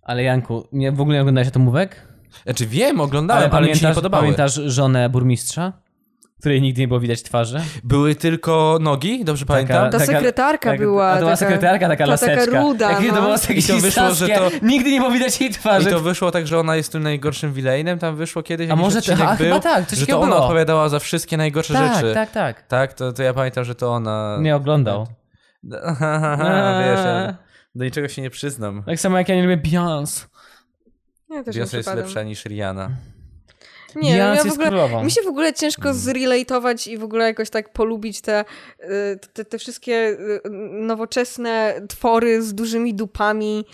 Ale Janku, nie, w ogóle nie oglądałeś atomówek?
Znaczy wiem, oglądałem, ale, mi się nie
pamiętasz-
podobały.
Pamiętasz żonę burmistrza? Której nigdy nie było widać twarzy?
Były tylko nogi, dobrze pamiętam?
Ta sekretarka była
A to była
taka-
sekretarka, taka
ta taka
laseczka.
ruda,
Jakie
no.
to było takie
I to wyszło, że
saskie.
to-
Nigdy nie było widać jej
I
twarzy.
to wyszło tak, że ona jest tym najgorszym wilejnem, tam wyszło kiedyś.
A
jakiś
może-
odcinek
a,
był,
chyba tak, coś
że to
takiego
ona
było.
odpowiadała za wszystkie najgorsze
tak,
rzeczy.
tak, tak.
Tak, to, to ja pamiętam, że to ona.
Nie oglądał.
No, Wiesz, ja do niczego się nie przyznam.
Tak samo jak ja nie lubię Beyoncé.
Ja też
Beyoncé
nie
jest
przypadam.
lepsza niż Rihanna.
Nie, no,
Beyoncé
ja w
jest
ogóle,
królową.
mi się w ogóle ciężko zrelatować i w ogóle jakoś tak polubić te, y, te, te wszystkie y, nowoczesne twory z dużymi dupami,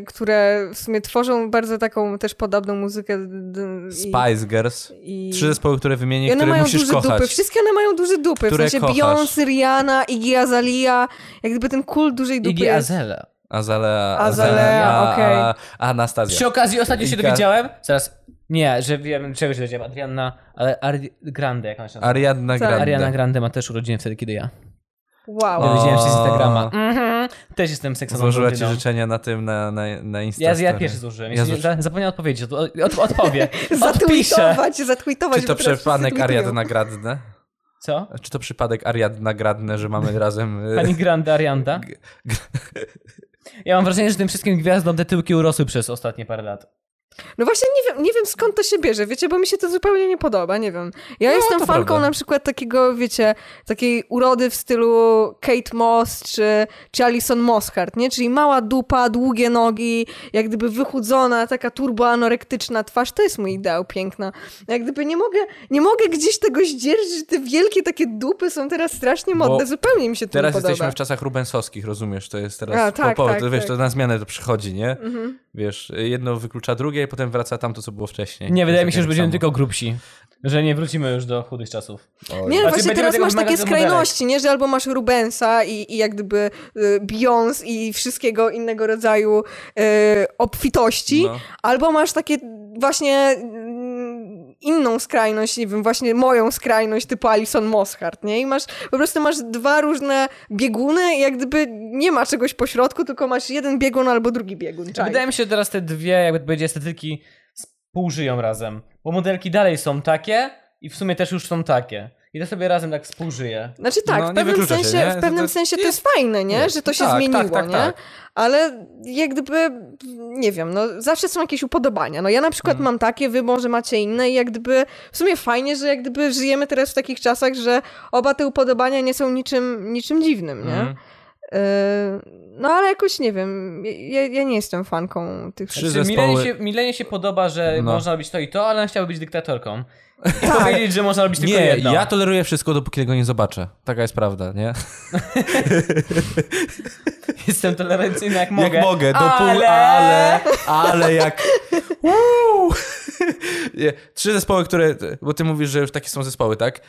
y, które w sumie tworzą bardzo taką też podobną muzykę. d- i-
Spice Girls.
i-
Trzy zespoły, które wymienię,
I one
które
mają
musisz
duże
kochać.
dupy. Wszystkie one mają duże dupy.
Które
w sensie
kochasz.
Beyoncé, Rihanna, Iggy Azalea. Jak gdyby ten kult dużej dupy
Iggy
jest...
Azalea.
Azalea,
Azalea,
a-
okej.
a- Anastazja.
Przy okazji ostatnio się
Ika-
dowiedziałem, zaraz, nie, że wiem czego się dowiedziałem, Adrianna, ale Ari- Grande, jak ona się nazywa.
Ariadna
Tak.
Grande.
Ariana Grande ma też urodziny wtedy, kiedy ja.
Wow.
Ja dowiedziałem się z
O.
Instagrama. Mhm. Też jestem seksową
Złożyła ci
blondyną.
życzenia na tym, na, na, na
no? Ja,
Instagramie.
ja pierwszy złożyłem.
Ja
Ja
złoży-
za, zapomniałem odpowiedzieć. Od, od, odpowie. Odpiszę.
Zatweetować, zatweetować.
Czy to
bo teraz wszyscy
przypadek
tweetują.
Ariadna Grande?
Co?
Czy to przypadek Ariadna Gradne, że mamy razem. y,
Pani Grande Arianda. Ja mam wrażenie, że tym wszystkim gwiazdom te tyłki urosły przez ostatnie parę lat.
No właśnie nie wiem, nie wiem skąd to się bierze, wiecie, bo mi się to zupełnie nie podoba, nie wiem. Ja jestem
No, to
fanką
prawda.
na przykład takiego, wiecie, takiej urody w stylu Kate Moss czy, czy Alison Mosshart, nie? Czyli mała dupa, długie nogi, jak gdyby wychudzona, taka turboanorektyczna twarz, to jest mój ideał piękna. Jak gdyby nie mogę, nie mogę gdzieś tego zdzierżyć, że te wielkie takie dupy są teraz strasznie
Bo
modne, zupełnie mi się to
Teraz
nie podoba.
jesteśmy w czasach rubensowskich, rozumiesz? To jest teraz
A, tak,
po, po,
tak,
to, wiesz,
tak. Mhm.
to na zmianę to przychodzi, nie? Wiesz, jedno wyklucza drugie i potem wraca tam to, co było wcześniej.
Nie,
To
wydaje
jest
mi się,
tak
że będziemy
samo.
tylko grubsi. Że nie wrócimy już do chudych czasów.
Oj.
Nie, no
Znaczy,
właśnie
będziemy
teraz
tego
masz takie
wymagać od modelek.
skrajności, nie? Że albo masz Rubensa i, i jak gdyby y, Beyoncé i wszystkiego innego rodzaju y, obfitości,
No.
albo masz takie właśnie mm, inną skrajność, nie wiem, właśnie moją skrajność typu Alison Mosshart, nie? I masz, po prostu masz dwa różne bieguny i jak gdyby nie ma czegoś pośrodku, tylko masz jeden biegun albo drugi biegun. Czaj.
Wydaje mi się, że teraz te dwie, jakby to powiedzieć, estetyki współżyją razem. Bo modelki dalej są takie i w sumie też już są takie. I to sobie razem tak współżyje.
Znaczy tak,
No,
w
nie
pewnym
wyklucza się,
sensie,
nie?
w
To-
pewnym
to
sensie to
jest-
jest fajne, nie?
jest.
Że to się
Tak, tak,
zmieniło,
tak,
nie?
tak.
Ale jak gdyby, nie wiem, no zawsze są jakieś upodobania. No ja na
Mhm.
przykład mam takie, wy może macie inne i jak gdyby, w sumie fajnie, że jak gdyby żyjemy teraz w takich czasach, że oba te upodobania nie są niczym, niczym dziwnym, nie?
Mhm.
Yy, no ale jakoś, nie wiem, ja, ja nie jestem fanką tych
Trzy
Znaczy,
zespoły.
Milenie, się, Milenie się podoba, że
No.
można robić to i to, ale ona chciała być dyktatorką. I
Tak.
Tak.
powiedzieć, że można robić tylko
Nie,
jedno.
ja toleruję wszystko, dopóki tego nie zobaczę. Taka jest prawda, nie?
Jestem tolerancyjny jak mogę.
Jak mogę, do pół,
ale...
ale, ale jak. Uuu. nie, trzy zespoły, które. Bo ty mówisz, że już takie są zespoły, tak?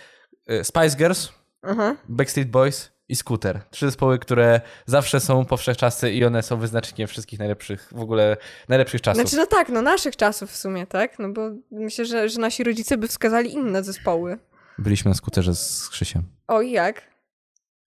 E, Spice Girls,
Aha.
Backstreet Boys i Scooter. Trzy zespoły, które zawsze są powszechczasy i one są wyznacznikiem wszystkich najlepszych, w ogóle najlepszych czasów.
Znaczy, no tak, no naszych czasów w sumie, tak? No bo myślę, że, że nasi rodzice by wskazali inne zespoły.
Byliśmy na skuterze z Krzysiem.
O i jak?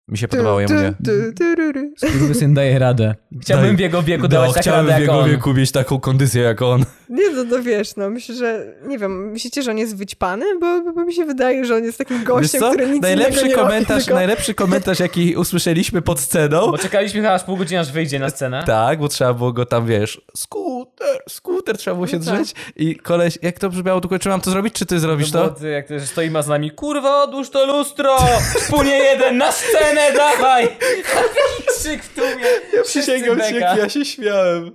Mi się podobało, ja mówię.
tu, tu, ru, ru.
Syn daje radę. Chciałbym
Daj-
w jego wieku
Da,
dawać tak
No, chciałem
radę
w
jak
jego
on.
wieku mieć taką kondycję jak on.
Nie, no, no wiesz, no myślę, że, nie wiem, myślicie, że on jest wyćpany? Bo, bo mi się wydaje, że on jest takim
Wiesz
gościem,
co?
który nic
Najlepszy
innego nie
komentarz,
robi, tylko...
najlepszy komentarz, jaki usłyszeliśmy pod sceną.
Bo czekaliśmy chyba aż pół godziny, aż wyjdzie na scenę.
Tak, bo trzeba było go tam, wiesz, skuter, skuter, trzeba było się
No tak.
drzeć i koleś, jak to brzmiało, tylko czy mam to zrobić, czy ty zrobisz
No
To było,
to?
No ty, jak to, że stoi ma z nami, kurwa, odłóż to lustro! Wspólnie jeden, na scenę, dawaj! Krzyk w tłumie,
Przysięgam
wszyscy
się,
beka.
jak ja się śmiałem.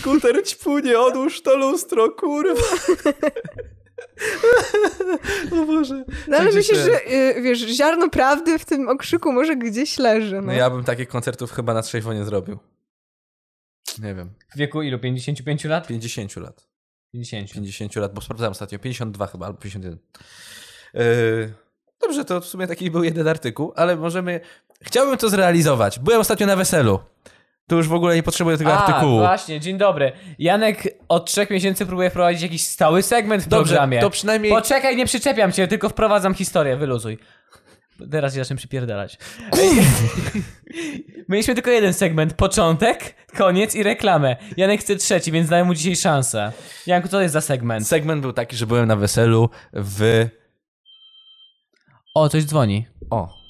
Skuter ćpunie, odłóż to lustro, kurwa. O Boże.
No
Tak
ale
się
myślę,
śmiałem.
że, y, wiesz, ziarno prawdy w tym okrzyku może gdzieś leży, no.
No ja bym takich koncertów chyba na trzeźwo nie zrobił. Nie wiem,
W wieku ilu? 55 lat?
50 lat.
50.
50 lat, bo sprawdzałem ostatnio, 52 chyba, albo 51. Yy, dobrze, to w sumie taki był jeden artykuł, ale możemy... Chciałbym to zrealizować. Byłem ostatnio na weselu. Tu już w ogóle nie potrzebuję tego
A,
artykułu.
właśnie, dzień dobry. Janek od trzech miesięcy próbuje wprowadzić jakiś stały segment w
Dobrze,
programie.
to przynajmniej...
Poczekaj, nie przyczepiam cię, tylko wprowadzam historię, wyluzuj. Teraz się zaczynam przypierdalać. Mieliśmy tylko jeden segment, początek, koniec i reklamę. Janek chce trzeci, więc daję mu dzisiaj szansę. Janku, co to jest za segment?
Segment był taki, że byłem na weselu w...
O, coś dzwoni.
O.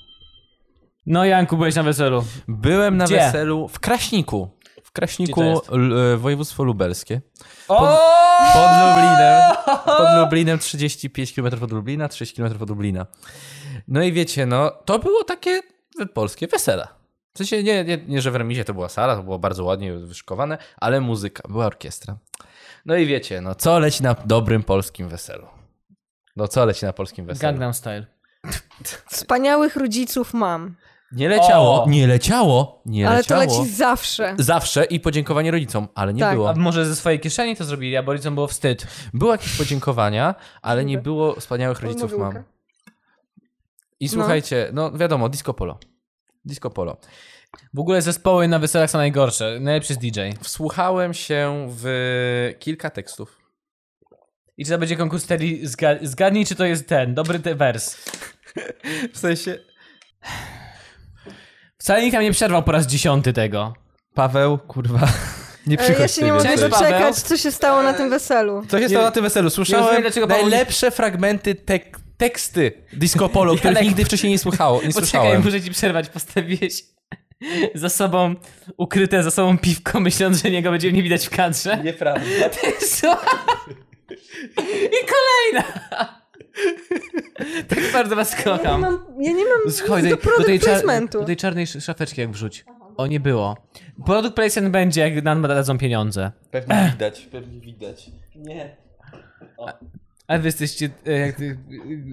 No Janku, byłeś na weselu.
Byłem na
Gdzie?
weselu w Kraśniku. W Kraśniku,
Gdzie to jest?
l- e, województwo lubelskie.
O!
Pod Lublinem. Pod Lublinem 35 km od Lublina, 6 km od Lublina. No i wiecie, no, to było takie polskie wesela. W sensie nie, nie, nie, że w remizie to była sala, to było bardzo ładnie wyszykowane, ale muzyka, była orkiestra. No i wiecie, no, co leci na dobrym polskim weselu? No, co leci na polskim weselu?
Gangnam Style.
Wspaniałych rodziców mam,
Nie leciało,
O!
nie leciało, nie
ale to
leciało.
leci zawsze.
Zawsze i podziękowanie rodzicom, ale nie
Tak,
było.
A może ze swojej kieszeni to zrobili, a Borycom było wstyd.
Było jakieś podziękowania, ale nie było wspaniałych rodziców
Odmówiłka.
mam. I słuchajcie, no wiadomo, disco polo. Disco polo.
W ogóle zespoły na weselach są najgorsze. Najlepszy jest DJ.
Wsłuchałem się w kilka tekstów.
I czy to będzie konkurs Teddy? Zga- zgadnij, czy to jest ten, dobry te wers.
W sensie...
Wcale nikt nam nie przerwał po raz dziesiąty tego.
Paweł, kurwa, nie
Ale E, ja
przychodź
się nie mogę
Cześć, Paweł.
doczekać, co się stało na tym weselu.
Co się stało na tym weselu? Słyszałem
rozumiem, dlaczego Paweł nie-
najlepsze fragmenty tek- teksty disco polo, których
Janek-
nigdy wcześniej nie słuchało. Nie
Poczekaj,
słyszałem.
muszę ci przerwać. Postawiłeś za sobą, ukryte za sobą piwko, myśląc, że niego będzie nie widać w kadrze.
Nieprawda.
Co? I kolejna! Tak bardzo was
Ja nie
kocham.
mam, ja nie mam
Schodź
nic do product
tej, czar-
placementu.
do tej czarnej sz- szafeczki jak wrzuć. O, nie było. Produkt placement będzie, jak nam dadzą pieniądze.
Pewnie widać, pewnie widać.
Ale wy jesteście, e, jak, ty-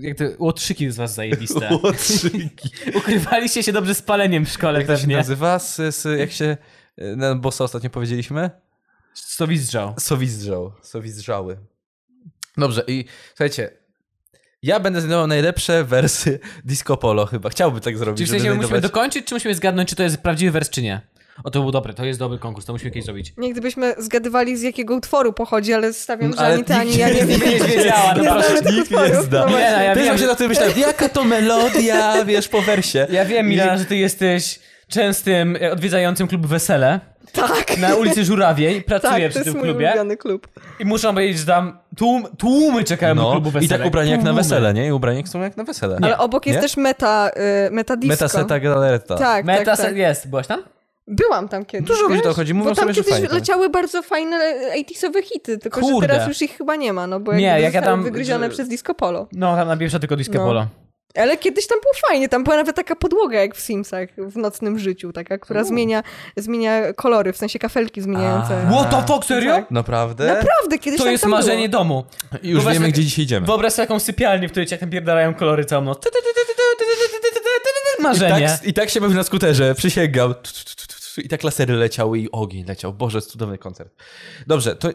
jak te łotrzyki z was zajebiste.
Łotrzyki.
Ukrywaliście się dobrze z paleniem w szkole
Jak Tak to
też,
się
nie?
nazywa? S, s, jak się... y, Na bossa ostatnio powiedzieliśmy?
Stowizdrzał.
Sowizdrzał. Sowizdrzały. Dobrze i słuchajcie, ja będę znajdował najlepsze wersy disco polo chyba. Chciałbym tak zrobić,
Czy w
żeby
sensie musimy
znajdować-
dokończyć, czy musimy zgadnąć, czy to jest prawdziwy wers, czy nie? O, to był dobry, to jest dobry konkurs, to musimy kiedyś zrobić.
Nie gdybyśmy zgadywali z jakiego utworu pochodzi, ale stawiam, że
Ale
ani ty, ani
nikt
ja
nie
nie wiem.
Nie wiedziała, no
Nie
proszę.
znamy tych
Nikt nie
utworów,
zna.
no
Nie,
no,
właśnie.
ja
Ty
wiem,
właśnie na tym myślałem, jaka to melodia, wiesz, po wersie.
ja wiem Milana, że ty jesteś częstym e, odwiedzającym klub Wesele
Tak.
na ulicy Żurawiej, pracuję
tak, to
przy
jest
tym
mój
klubie
ulubiony klub.
i muszę powiedzieć, że tam tłum, tłumy czekają na do klubu
i
weselek.
tak ubrani jak na
Tłumy.
wesele, nie? I ubrani są jak na wesele.
Ale obok jest
Nie?
też meta, y, meta disco.
Metaseta galereta.
Tak,
Meta
tak, tak.
jest, byłaś tam?
Byłam tam kiedyś.
Dużo ludzi
wiesz?
no tam chodzi, mówią
Bo tam
sobie, że
kiedyś
fajnie.
leciały bardzo fajne 80sowe hity, tylko
Kurde.
że teraz już ich chyba nie ma, no bo
Nie,
jakby
jak ja
zostały
tam-
wygryzione
że-
przez disco polo.
No, tam na pierwsza tylko disco
No.
polo.
Ale kiedyś tam było fajnie, tam była nawet taka podłoga jak w Simsach, w nocnym życiu, taka, która zmienia, zmienia kolory, w sensie kafelki zmieniające.
A.
What the fuck, serio?
Tak.
Naprawdę? No
Naprawdę, kiedyś
To
tak
jest
tam
marzenie
było.
domu.
I już
Wyobraź
wiemy,
sobie-
gdzie dzisiaj idziemy.
Wyobraź sobie taką sypialnię, w której cię tam pierdalają kolory całą noc. Ty, ty, ty, ty, ty, ty, ty, ty, ty, ty, ty, ty,
I
Marzenie.
tak, I tak się bawił na skuterze, przysięgam. Tu, tu, tu, tu, tu. I tak lasery leciały i ogień leciał. Boże, cudowny koncert. Dobrze, to,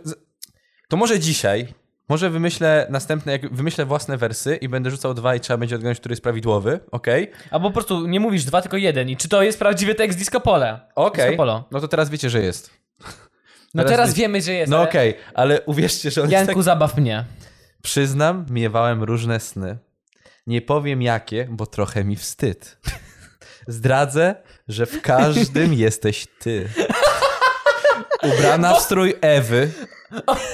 to może dzisiaj, może wymyślę następne, jak wymyślę własne wersy i będę rzucał dwa i trzeba będzie odgadnąć, który jest prawidłowy, okej?
A po prostu nie mówisz dwa, tylko jeden. I czy to jest prawdziwy tekst disco pole?
Okej,
Disco polo.
no to teraz wiecie, że jest.
No
Teraz
teraz,
wy-
wiemy, że jest.
No
ale-
okej, ale uwierzcie, że on jest tak-
Janku, zabaw mnie.
Przyznam, miewałem różne sny. Nie powiem jakie, bo trochę mi wstyd. Zdradzę, że w każdym jesteś ty. Ubrana w strój Ewy,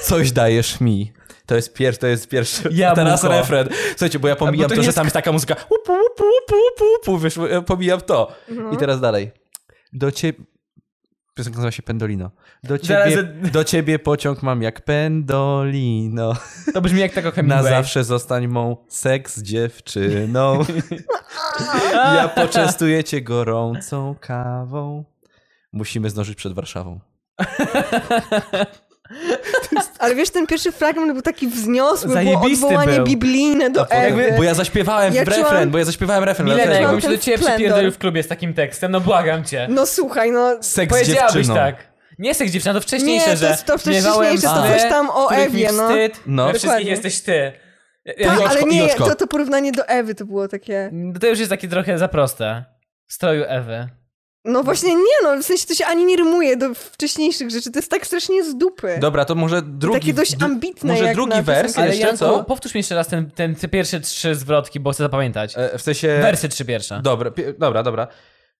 coś dajesz mi. To jest, pier- to jest pierwszy.
Jabłko.
A Teraz refren. Słuchajcie, bo ja pomijam
A, bo to
to,
nie
że
jest-
tam jest taka muzyka. Upu, upu, upu, upu, upu, wiesz, ja pomijam to. I teraz dalej. Do ciebie. Piosenka nazywa się Pendolino. Do
Zaraz-
ciebie, do ciebie pociąg mam jak Pendolino.
To brzmi jak tego
Na
Hemingway.
zawsze zostań mą seks dziewczyną. ja poczęstuję cię gorącą kawą. Musimy zdążyć przed Warszawą.
Ale wiesz, ten pierwszy fragment był taki wzniosły, było
Zajebisty
odwołanie
był.
biblijne do Ewy.
Bo ja zaśpiewałem
No, Ja
w refren,
czułam-
bo ja zaśpiewałem refren.
Milena, no,
dlatego.
Mam
jakbym się do
ten
ciebie
splendor.
przypierdolił w klubie z takim tekstem, no błagam cię.
No słuchaj, no...
Seks
Powiedziałabyś
dziewczyną.
tak. Nie seks dziewczyna, to wcześniejsze,
Nie, to
że
jest to wcześniejsze,
miewałem
to
sny,
coś tam o
których mi
Ewie, no.
wstyd,
No.
we wszystkich
Dokładnie.
jesteś ty. Ja- ja-
Tak,
Joczko,
ale nie,
Joczko.
to, to porównanie do Ewy to było takie...
To już jest takie trochę za proste. W stroju Ewy.
No właśnie nie, no w sensie to się ani nie rymuje do wcześniejszych rzeczy, to jest tak strasznie z dupy.
Dobra, to może drugi...
Takie dość
dru-
ambitne
Może
jak
drugi
na
wers
piosenkę.
Ale
jeszcze,
Janku,
co?
powtórz mi jeszcze raz ten, ten, te pierwsze trzy zwrotki, bo chcę zapamiętać.
E, W sensie...
Wersy trzy pierwsze.
Dobra, pi- dobra, dobra.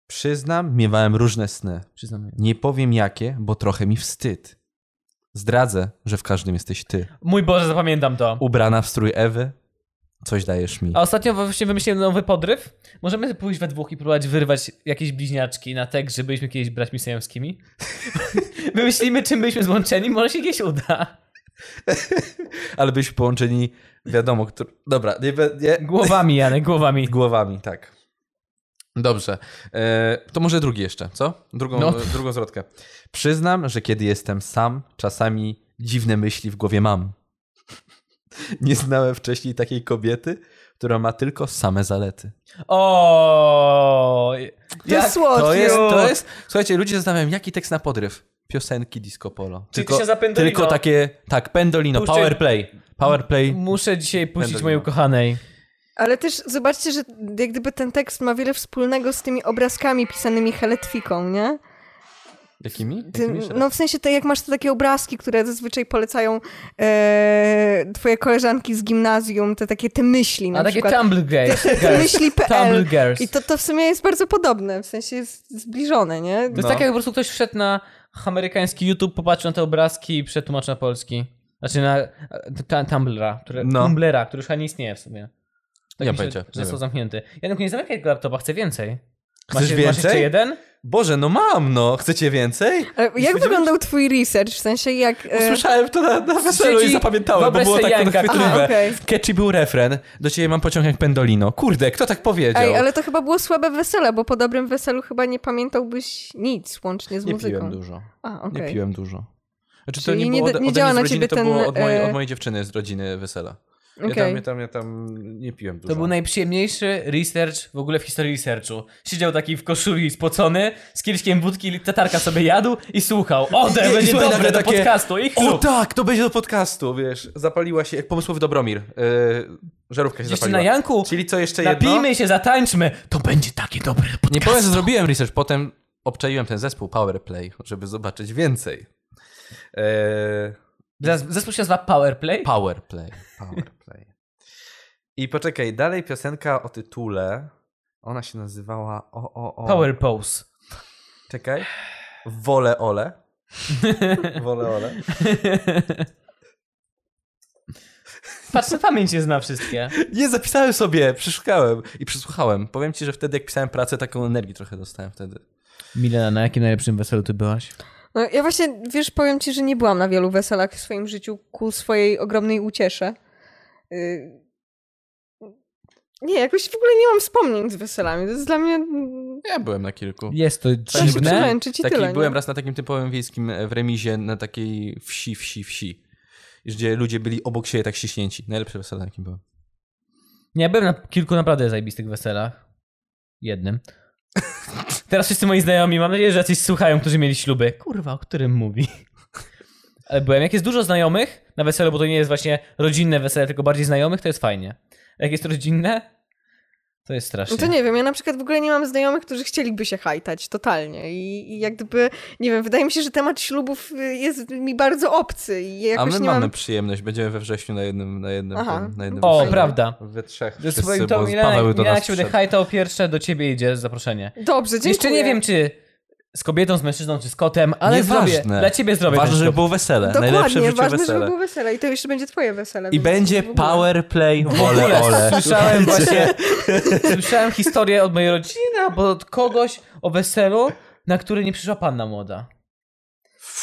Przyznam, miewałem różne sny.
Przyznam.
Nie powiem jakie, bo trochę mi wstyd. Zdradzę, że w każdym jesteś ty.
Mój Boże, zapamiętam to.
Ubrana w strój Ewy, coś dajesz mi.
A ostatnio właśnie wymyśliłem nowy podryw. Możemy pójść we dwóch i próbować wyrwać jakieś bliźniaczki na tekst, że byliśmy kiedyś braćmi sejamskimi? Wymyślimy, czym byliśmy złączeni, może się gdzieś uda.
Ale byśmy połączeni, wiadomo, który... Dobra, nie, be- nie...
Głowami, Janek, głowami.
głowami, tak. Dobrze. E, to może drugi jeszcze, co? Drugą,
No.
e, drugą zwrotkę. Przyznam, że kiedy jestem sam, czasami dziwne myśli w głowie mam. Nie znałem wcześniej takiej kobiety, która ma tylko same zalety.
O,
To jest słodkie.
To jest, to jest... Słuchajcie, ludzie zastanawiają, jaki tekst na podryw? Piosenki disco polo.
Czyli ty się za pendolino.
Tylko takie, tak, pendolino,
Puszczaj-
power play. Power play.
Muszę dzisiaj puścić
Będę
mojej
miał.
ukochanej.
Ale też zobaczcie, że jak gdyby ten tekst ma wiele wspólnego z tymi obrazkami pisanymi heletwiką, nie?
Jakimi?
Ty,
Jakimi jeszcze raz?
no w sensie, to jak masz te takie obrazki, które zazwyczaj polecają e, twoje koleżanki z gimnazjum, te takie te myśli na
A takie
przykład.
Tumblr Girls.
te myśli PL.
Tumblr Girls.
I to, to w sumie jest bardzo podobne, w sensie jest zbliżone, nie?
No.
To jest tak, jak po prostu ktoś wszedł na amerykański YouTube, popatrzył na te obrazki i przetłumaczył na polski. Znaczy na e, ta, Tumblra, które,
No.
Tumblera, który już chyba nie istnieje w sumie. Tak
Nie
Ja
mam pojęcia, nie
Że są
wiem.
zamknięty. Janek, nie zamykaj tego laptopa, chcę więcej.
Chcesz
masz, Masz
więcej?
jeszcze jeden?
Boże, no mam, no. Chcecie więcej?
Ale E, jak wyglądał twój research? W sensie jak... e,
Usłyszałem to na, na weselu i
Siedzi-
zapamiętałem, bo
wyobraź
było
sobie
tak
Janka.
Aha,
podchwytliwe.
okej.
W Catchy był refren, do ciebie mam pociąg jak pendolino. Kurde, kto tak powiedział?
Ej, ale to chyba było słabe wesele, bo po dobrym weselu chyba nie pamiętałbyś nic łącznie z
Nie
muzyką.
piłem dużo.
A, okej.
Nie piłem dużo. Znaczy, to
Czyli
nie
nie
było
da-
ode,
nie
ode
działa
mnie z
na
rodziny,
ciebie
to
ten,
było od mojej,
e,
od mojej dziewczyny z rodziny wesela. Ja,
Okej.
tam, ja, tam, ja tam nie piłem dużo.
To był najprzyjemniejszy research w ogóle w historii researchu. Siedział taki w koszuli spocony, z kieliszkiem wódki, tatarka sobie jadł i słuchał. O,
I-
te
i
będzie
słuchaj,
dobre
nagle
do
takie,
podcastu i
O
chlup.
tak, to będzie do podcastu, wiesz. Zapaliła się, jak pomysłowy Dobromir. E, żarówka się
Jeszcze
zapaliła.
na Janku,
Czyli co jeszcze jedno?
napijmy się, zatańczmy. To będzie takie dobre do podcastu.
Nie powiem, że zrobiłem research, potem obczaiłem ten zespół Powerplay, żeby zobaczyć więcej. Eee,
Zas- Zespół się nazywa Powerplay.
Powerplay. Powerplay. I poczekaj, dalej piosenka o tytule. Ona się nazywała o o o.
Power Pose.
Czekaj. Wolę Ole. Wolę Ole.
Patrz, ta pamięć nie zna wszystkie.
Nie, zapisałem sobie, przeszukałem i przesłuchałem. Powiem ci, że wtedy jak pisałem pracę, taką energię trochę dostałem wtedy.
Milena, na jakim najlepszym weselu ty byłaś?
No, ja właśnie, wiesz, powiem ci, że nie byłam na wielu weselach w swoim życiu ku swojej ogromnej uciesze. Y, Nie, jakoś w ogóle nie mam wspomnień z weselami. To jest dla mnie... mm,
Ja byłem na kilku.
Jest to
Trzeba się
dziwne.
przemęczyć i
Taki,
tyle.
byłem
nie?
raz na takim typowym wiejskim e, w remizie, na takiej wsi, wsi, wsi. Gdzie ludzie byli obok siebie tak ściśnięci. Najlepsze wesele, na jakim byłem.
Nie, byłem na kilku naprawdę zajebistych weselach. Jednym. Teraz wszyscy moi znajomi, mam nadzieję, że jacyś słuchają, którzy mieli śluby. Kurwa, o którym mówi? Ale byłem. Jak jest dużo znajomych na weselu, bo to nie jest właśnie rodzinne wesele, tylko bardziej znajomych, to jest fajnie. A Jak jest rodzinne, to jest strasznie.
No to nie wiem, ja na przykład w ogóle nie mam znajomych, którzy chcieliby się hajtać totalnie i, i jak gdyby, nie wiem, wydaje mi się, że temat ślubów y, jest mi bardzo obcy i
A
jakoś
my
nie
mamy
mam...
przyjemność. Będziemy we wrześniu na jednym, na jednym,
Aha.
tym, na jednym
O,
weselu.
prawda.
We trzech
Ze
wszyscy,
swoim
bo
to
Paweł
Milena,
do
Milena
nas
jak się będę
wszedł.
hajtał pierwsze, do ciebie idzie zaproszenie.
Dobrze, dziękuję.
Jeszcze nie wiem, czy z kobietą, z mężczyzną, czy z kotem, ale zrobię.
Nieważne.
Dla ciebie zrobię
Ważne,
ten
żeby
ślub.
było wesele. Najlepsze w
Dokładnie,
życiu
ważne,
wesele.
żeby było wesele i to jeszcze będzie twoje wesele.
I
więc
będzie
w ogóle.
powerplay
W ogóle
wole ole.
Słyszałem właśnie, słyszałem historię od mojej rodziny, albo od kogoś o weselu, na który nie przyszła panna młoda.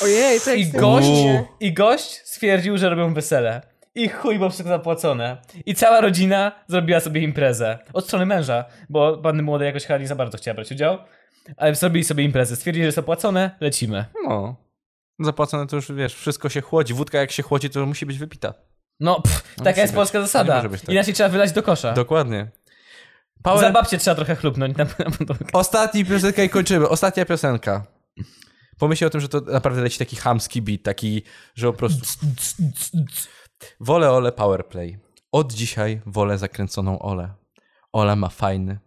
Ojej, to
I
jak
gość,
Uuu.
I gość stwierdził, że robią wesele. I chuj, bo wszystko zapłacone. I cała rodzina zrobiła sobie imprezę. Od strony męża, bo panny młode jakoś chyba nie za bardzo chciała brać udział. Ale zrobili sobie imprezę. Stwierdzili, że jest opłacone, lecimy.
No. Zapłacone to już, wiesz, wszystko się chłodzi. Wódka jak się chłodzi, to musi być wypita.
No, pff,
No
taka
musi
jest
być.
polska
To nie
zasada.
może być tak.
Inaczej trzeba wylać do kosza.
Dokładnie. Power...
Za babcię trzeba trochę chlubnąć. Na, na, na,
Ostatni piosenka i kończymy. Ostatnia piosenka. Pomyśl o tym, że to naprawdę leci taki chamski beat, taki, że po prostu... Wolę Ole Powerplay. Od dzisiaj wolę zakręconą Ole. Ola ma fajny,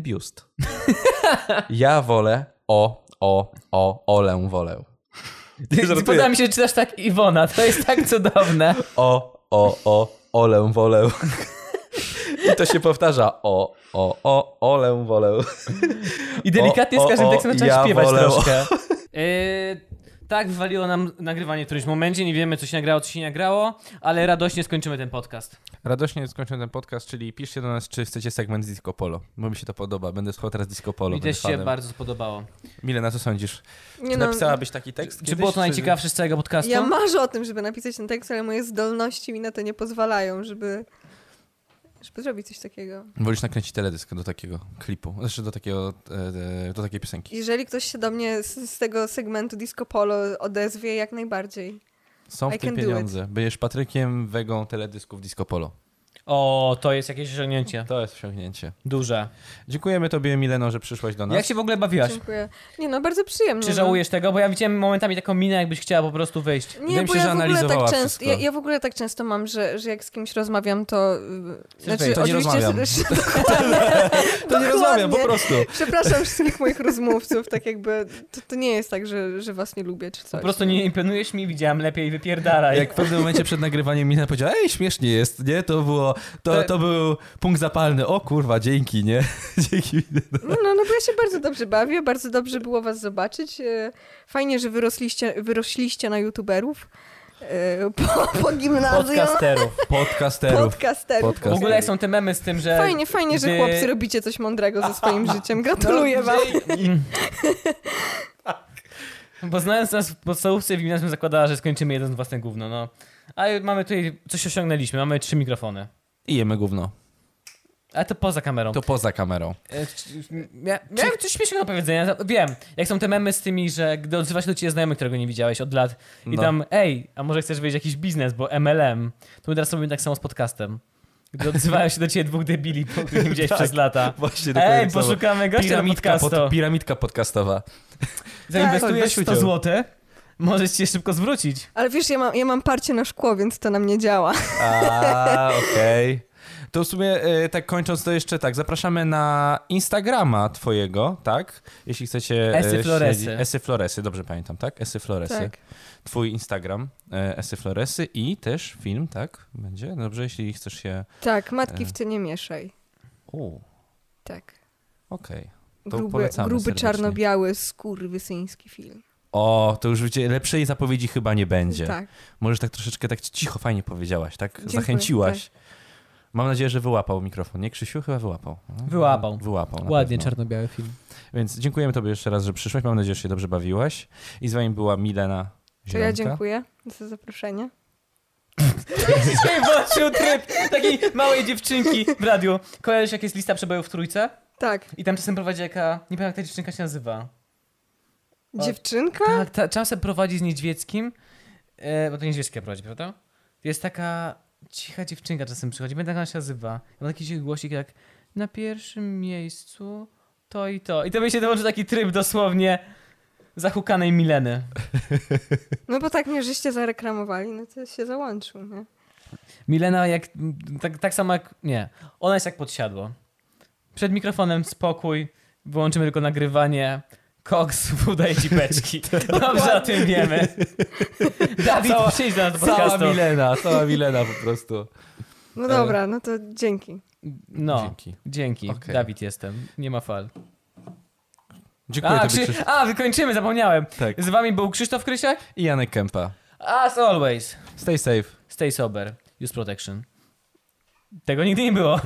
biust. Ja wolę o, o, o, Olę wolę. Żartuję.
Podoba mi się, że czytasz tak Iwona. To jest tak cudowne.
o, o, o, olę wolę. I to się powtarza. O, o, o, olę wolę.
I delikatnie
O,
z każdym
o,
tekstem
o,
zacząłem
ja
śpiewać
wolę-
troszkę. tak, wywaliło nam nagrywanie w którymś momencie. Nie wiemy, co się nagrało, co się nie nagrało, ale radośnie skończymy ten podcast.
Radośnie skończyłem ten podcast, czyli piszcie do nas, czy chcecie segment z Disco Polo, bo mi się to podoba. Będę słuchał teraz Disco Polo.
Mi
będę
też się
fanem.
bardzo spodobało.
Milena, co sądzisz?
Nie
Czy
no,
napisałabyś taki tekst
Czy
kiedyś,
było to najciekawsze z całego podcastu?
Ja marzę o tym, żeby napisać ten tekst, ale moje zdolności mi na to nie pozwalają, żeby, żeby zrobić coś takiego.
Wolisz nakręcić teledysk do takiego klipu, znaczy do, takiego, e, e, do takiej piosenki.
Jeżeli ktoś się do mnie z, z tego segmentu disco polo odezwie, jak najbardziej.
Są w
I
tym
can do
pieniądze. Będziesz Patrykiem Wegą teledysków Disco Polo.
O, to jest jakieś osiągnięcie.
To jest osiągnięcie.
Duże.
Dziękujemy tobie, Mileno, że przyszłaś do nas.
Jak się w ogóle bawiłaś?
Dziękuję. Nie no, bardzo przyjemnie.
Czy
no.
żałujesz tego? Bo ja widziałem momentami taką minę, jakbyś chciała po prostu wyjść.
Nie,
Wydaje mi
bo
się,
ja
że
w ogóle
analizowała
tak często,
wszystko.
ja, ja w ogóle tak często mam, że, że jak z kimś rozmawiam, to... y,
powiedzieć,
to nie rozmawiam. To nie rozmawiam, po
Dokładnie.
prostu.
Przepraszam wszystkich moich rozmówców, tak jakby to, to nie jest tak, że, że was nie lubię czy coś.
Po prostu nie imponujesz mi, widziałem lepiej, wypierdalaj.
Jak w pewnym momencie przed nagrywaniem Milena powiedziała, ej, śmiesznie jest, nie? To było,
E-
to, to był punkt zapalny. O kurwa, dzięki, nie? Dzięki, Milena.
No, no, no bo ja się bardzo dobrze bawię, bardzo dobrze było was zobaczyć. E, Fajnie, że wyrosliście, wyrośliście na youtuberów e, po, po gimnazjum.
Podcasterów.
Podcasterów.
Podcasterów.
Podcast.
W ogóle jak są te memy z tym, że...
Fajnie, fajnie, że
Gdy-
chłopcy robicie coś mądrego ze swoim życiem.
No,
Gratuluję wam.
Bo znając nas w podstawówce w gimnazjum zakładała, że skończymy jeden z własne gówno, no. Ale mamy tutaj, coś osiągnęliśmy, mamy trzy mikrofony.
I jemy gówno.
Ale to poza kamerą.
To poza kamerą.
E, czy- Mia, miałem coś śmiesznego do powiedzenia. Wiem, jak są te memy z tymi, że gdy odzywa się do ciebie znajomy, którego nie widziałeś od lat i
No.
tam, ej, a może chcesz wyjść jakiś biznes, bo MLM, to my teraz robimy tak samo z podcastem. Gdy odzywają się do ciebie dwóch debili, po których nie widziałeś
Tak.
przez lata.
Właśnie dokładnie
Ej,
to samo.
poszukamy gościa na
Piramidka,
podcastu.
pod, piramidka podcastowa.
Zainwestujesz
Tak, weź
100
udział.
zł, możesz się szybko zwrócić.
Ale wiesz, ja mam, ja mam parcie na szkło, więc to na mnie działa.
A, okej. To w sumie e, tak kończąc to jeszcze tak, zapraszamy na Instagrama twojego, tak? Jeśli chcecie... e,
Esy Floresy.
śledzić- Esy Floresy, dobrze pamiętam, tak? Esy Floresy.
Tak.
Twój Instagram, e, Esy Floresy i też film, tak? Będzie? Dobrze, jeśli chcesz się...
Tak,
E.
matki w ty nie mieszaj.
U,
Tak.
okej. To
Gruby,
polecamy
gruby
serdecznie.
czarno-biały, skór wysyński film.
O, to już wiecie, lepszej zapowiedzi chyba nie będzie.
Tak.
Możesz tak troszeczkę tak cicho, fajnie powiedziałaś, tak?
Dziękuję, tak.
Zachęciłaś. Mam nadzieję, że wyłapał mikrofon. Nie, Krzysiu? Chyba wyłapał. No,
Wyłapał.
Wyłapał. na
Ładnie
pewno.
czarno-biały film.
Więc dziękujemy tobie jeszcze raz, że przyszłaś. Mam nadzieję, że się dobrze bawiłaś. I z wami była Milena
To ja
Zielonka.
dziękuję za zaproszenie.
Dzisiaj włączył tryb takiej małej dziewczynki w radiu. Kojarzysz, jak jest lista przebojów w Trójce?
Tak.
I tam czasem prowadzi jaka... Nie pamiętam, jak ta dziewczynka się nazywa. O.
Dziewczynka?
Tak, ta, czasem prowadzi z Niedźwieckim, e, bo to Niedźwiecka prowadzi, prawda? Jest taka cicha dziewczynka czasem przychodzi, będę jak ona się nazywa. Ma taki cichy głosik jak na pierwszym miejscu to i to. I to mi się dołączy taki tryb dosłownie zahukanej Mileny.
No bo tak mnie żeście zareklamowali, no to się załączył, nie?
Milena jak, tak, tak samo jak, nie, ona jest jak podsiadło. Przed mikrofonem spokój, wyłączymy tylko nagrywanie, koks udaje ci beczki. Dobrze o tym wiemy. Dawid,
Cała-
przyjdź do nas do
Cała
podcastu.
Milena, cała Milena po prostu.
No
E.
dobra, no to dzięki.
No,
Dzięki.
dzięki. Dzięki.
Okej.
Dawid jestem. Nie ma fal.
Dziękuję
A,
tobie,
Krzy-
Krzysiu.
A, wykończymy, zapomniałem.
Tak.
Z wami był Krzysztof Krysiak.
I Janek Kępa.
As always,
Stay safe.
stay sober, use protection. Tego nigdy nie było.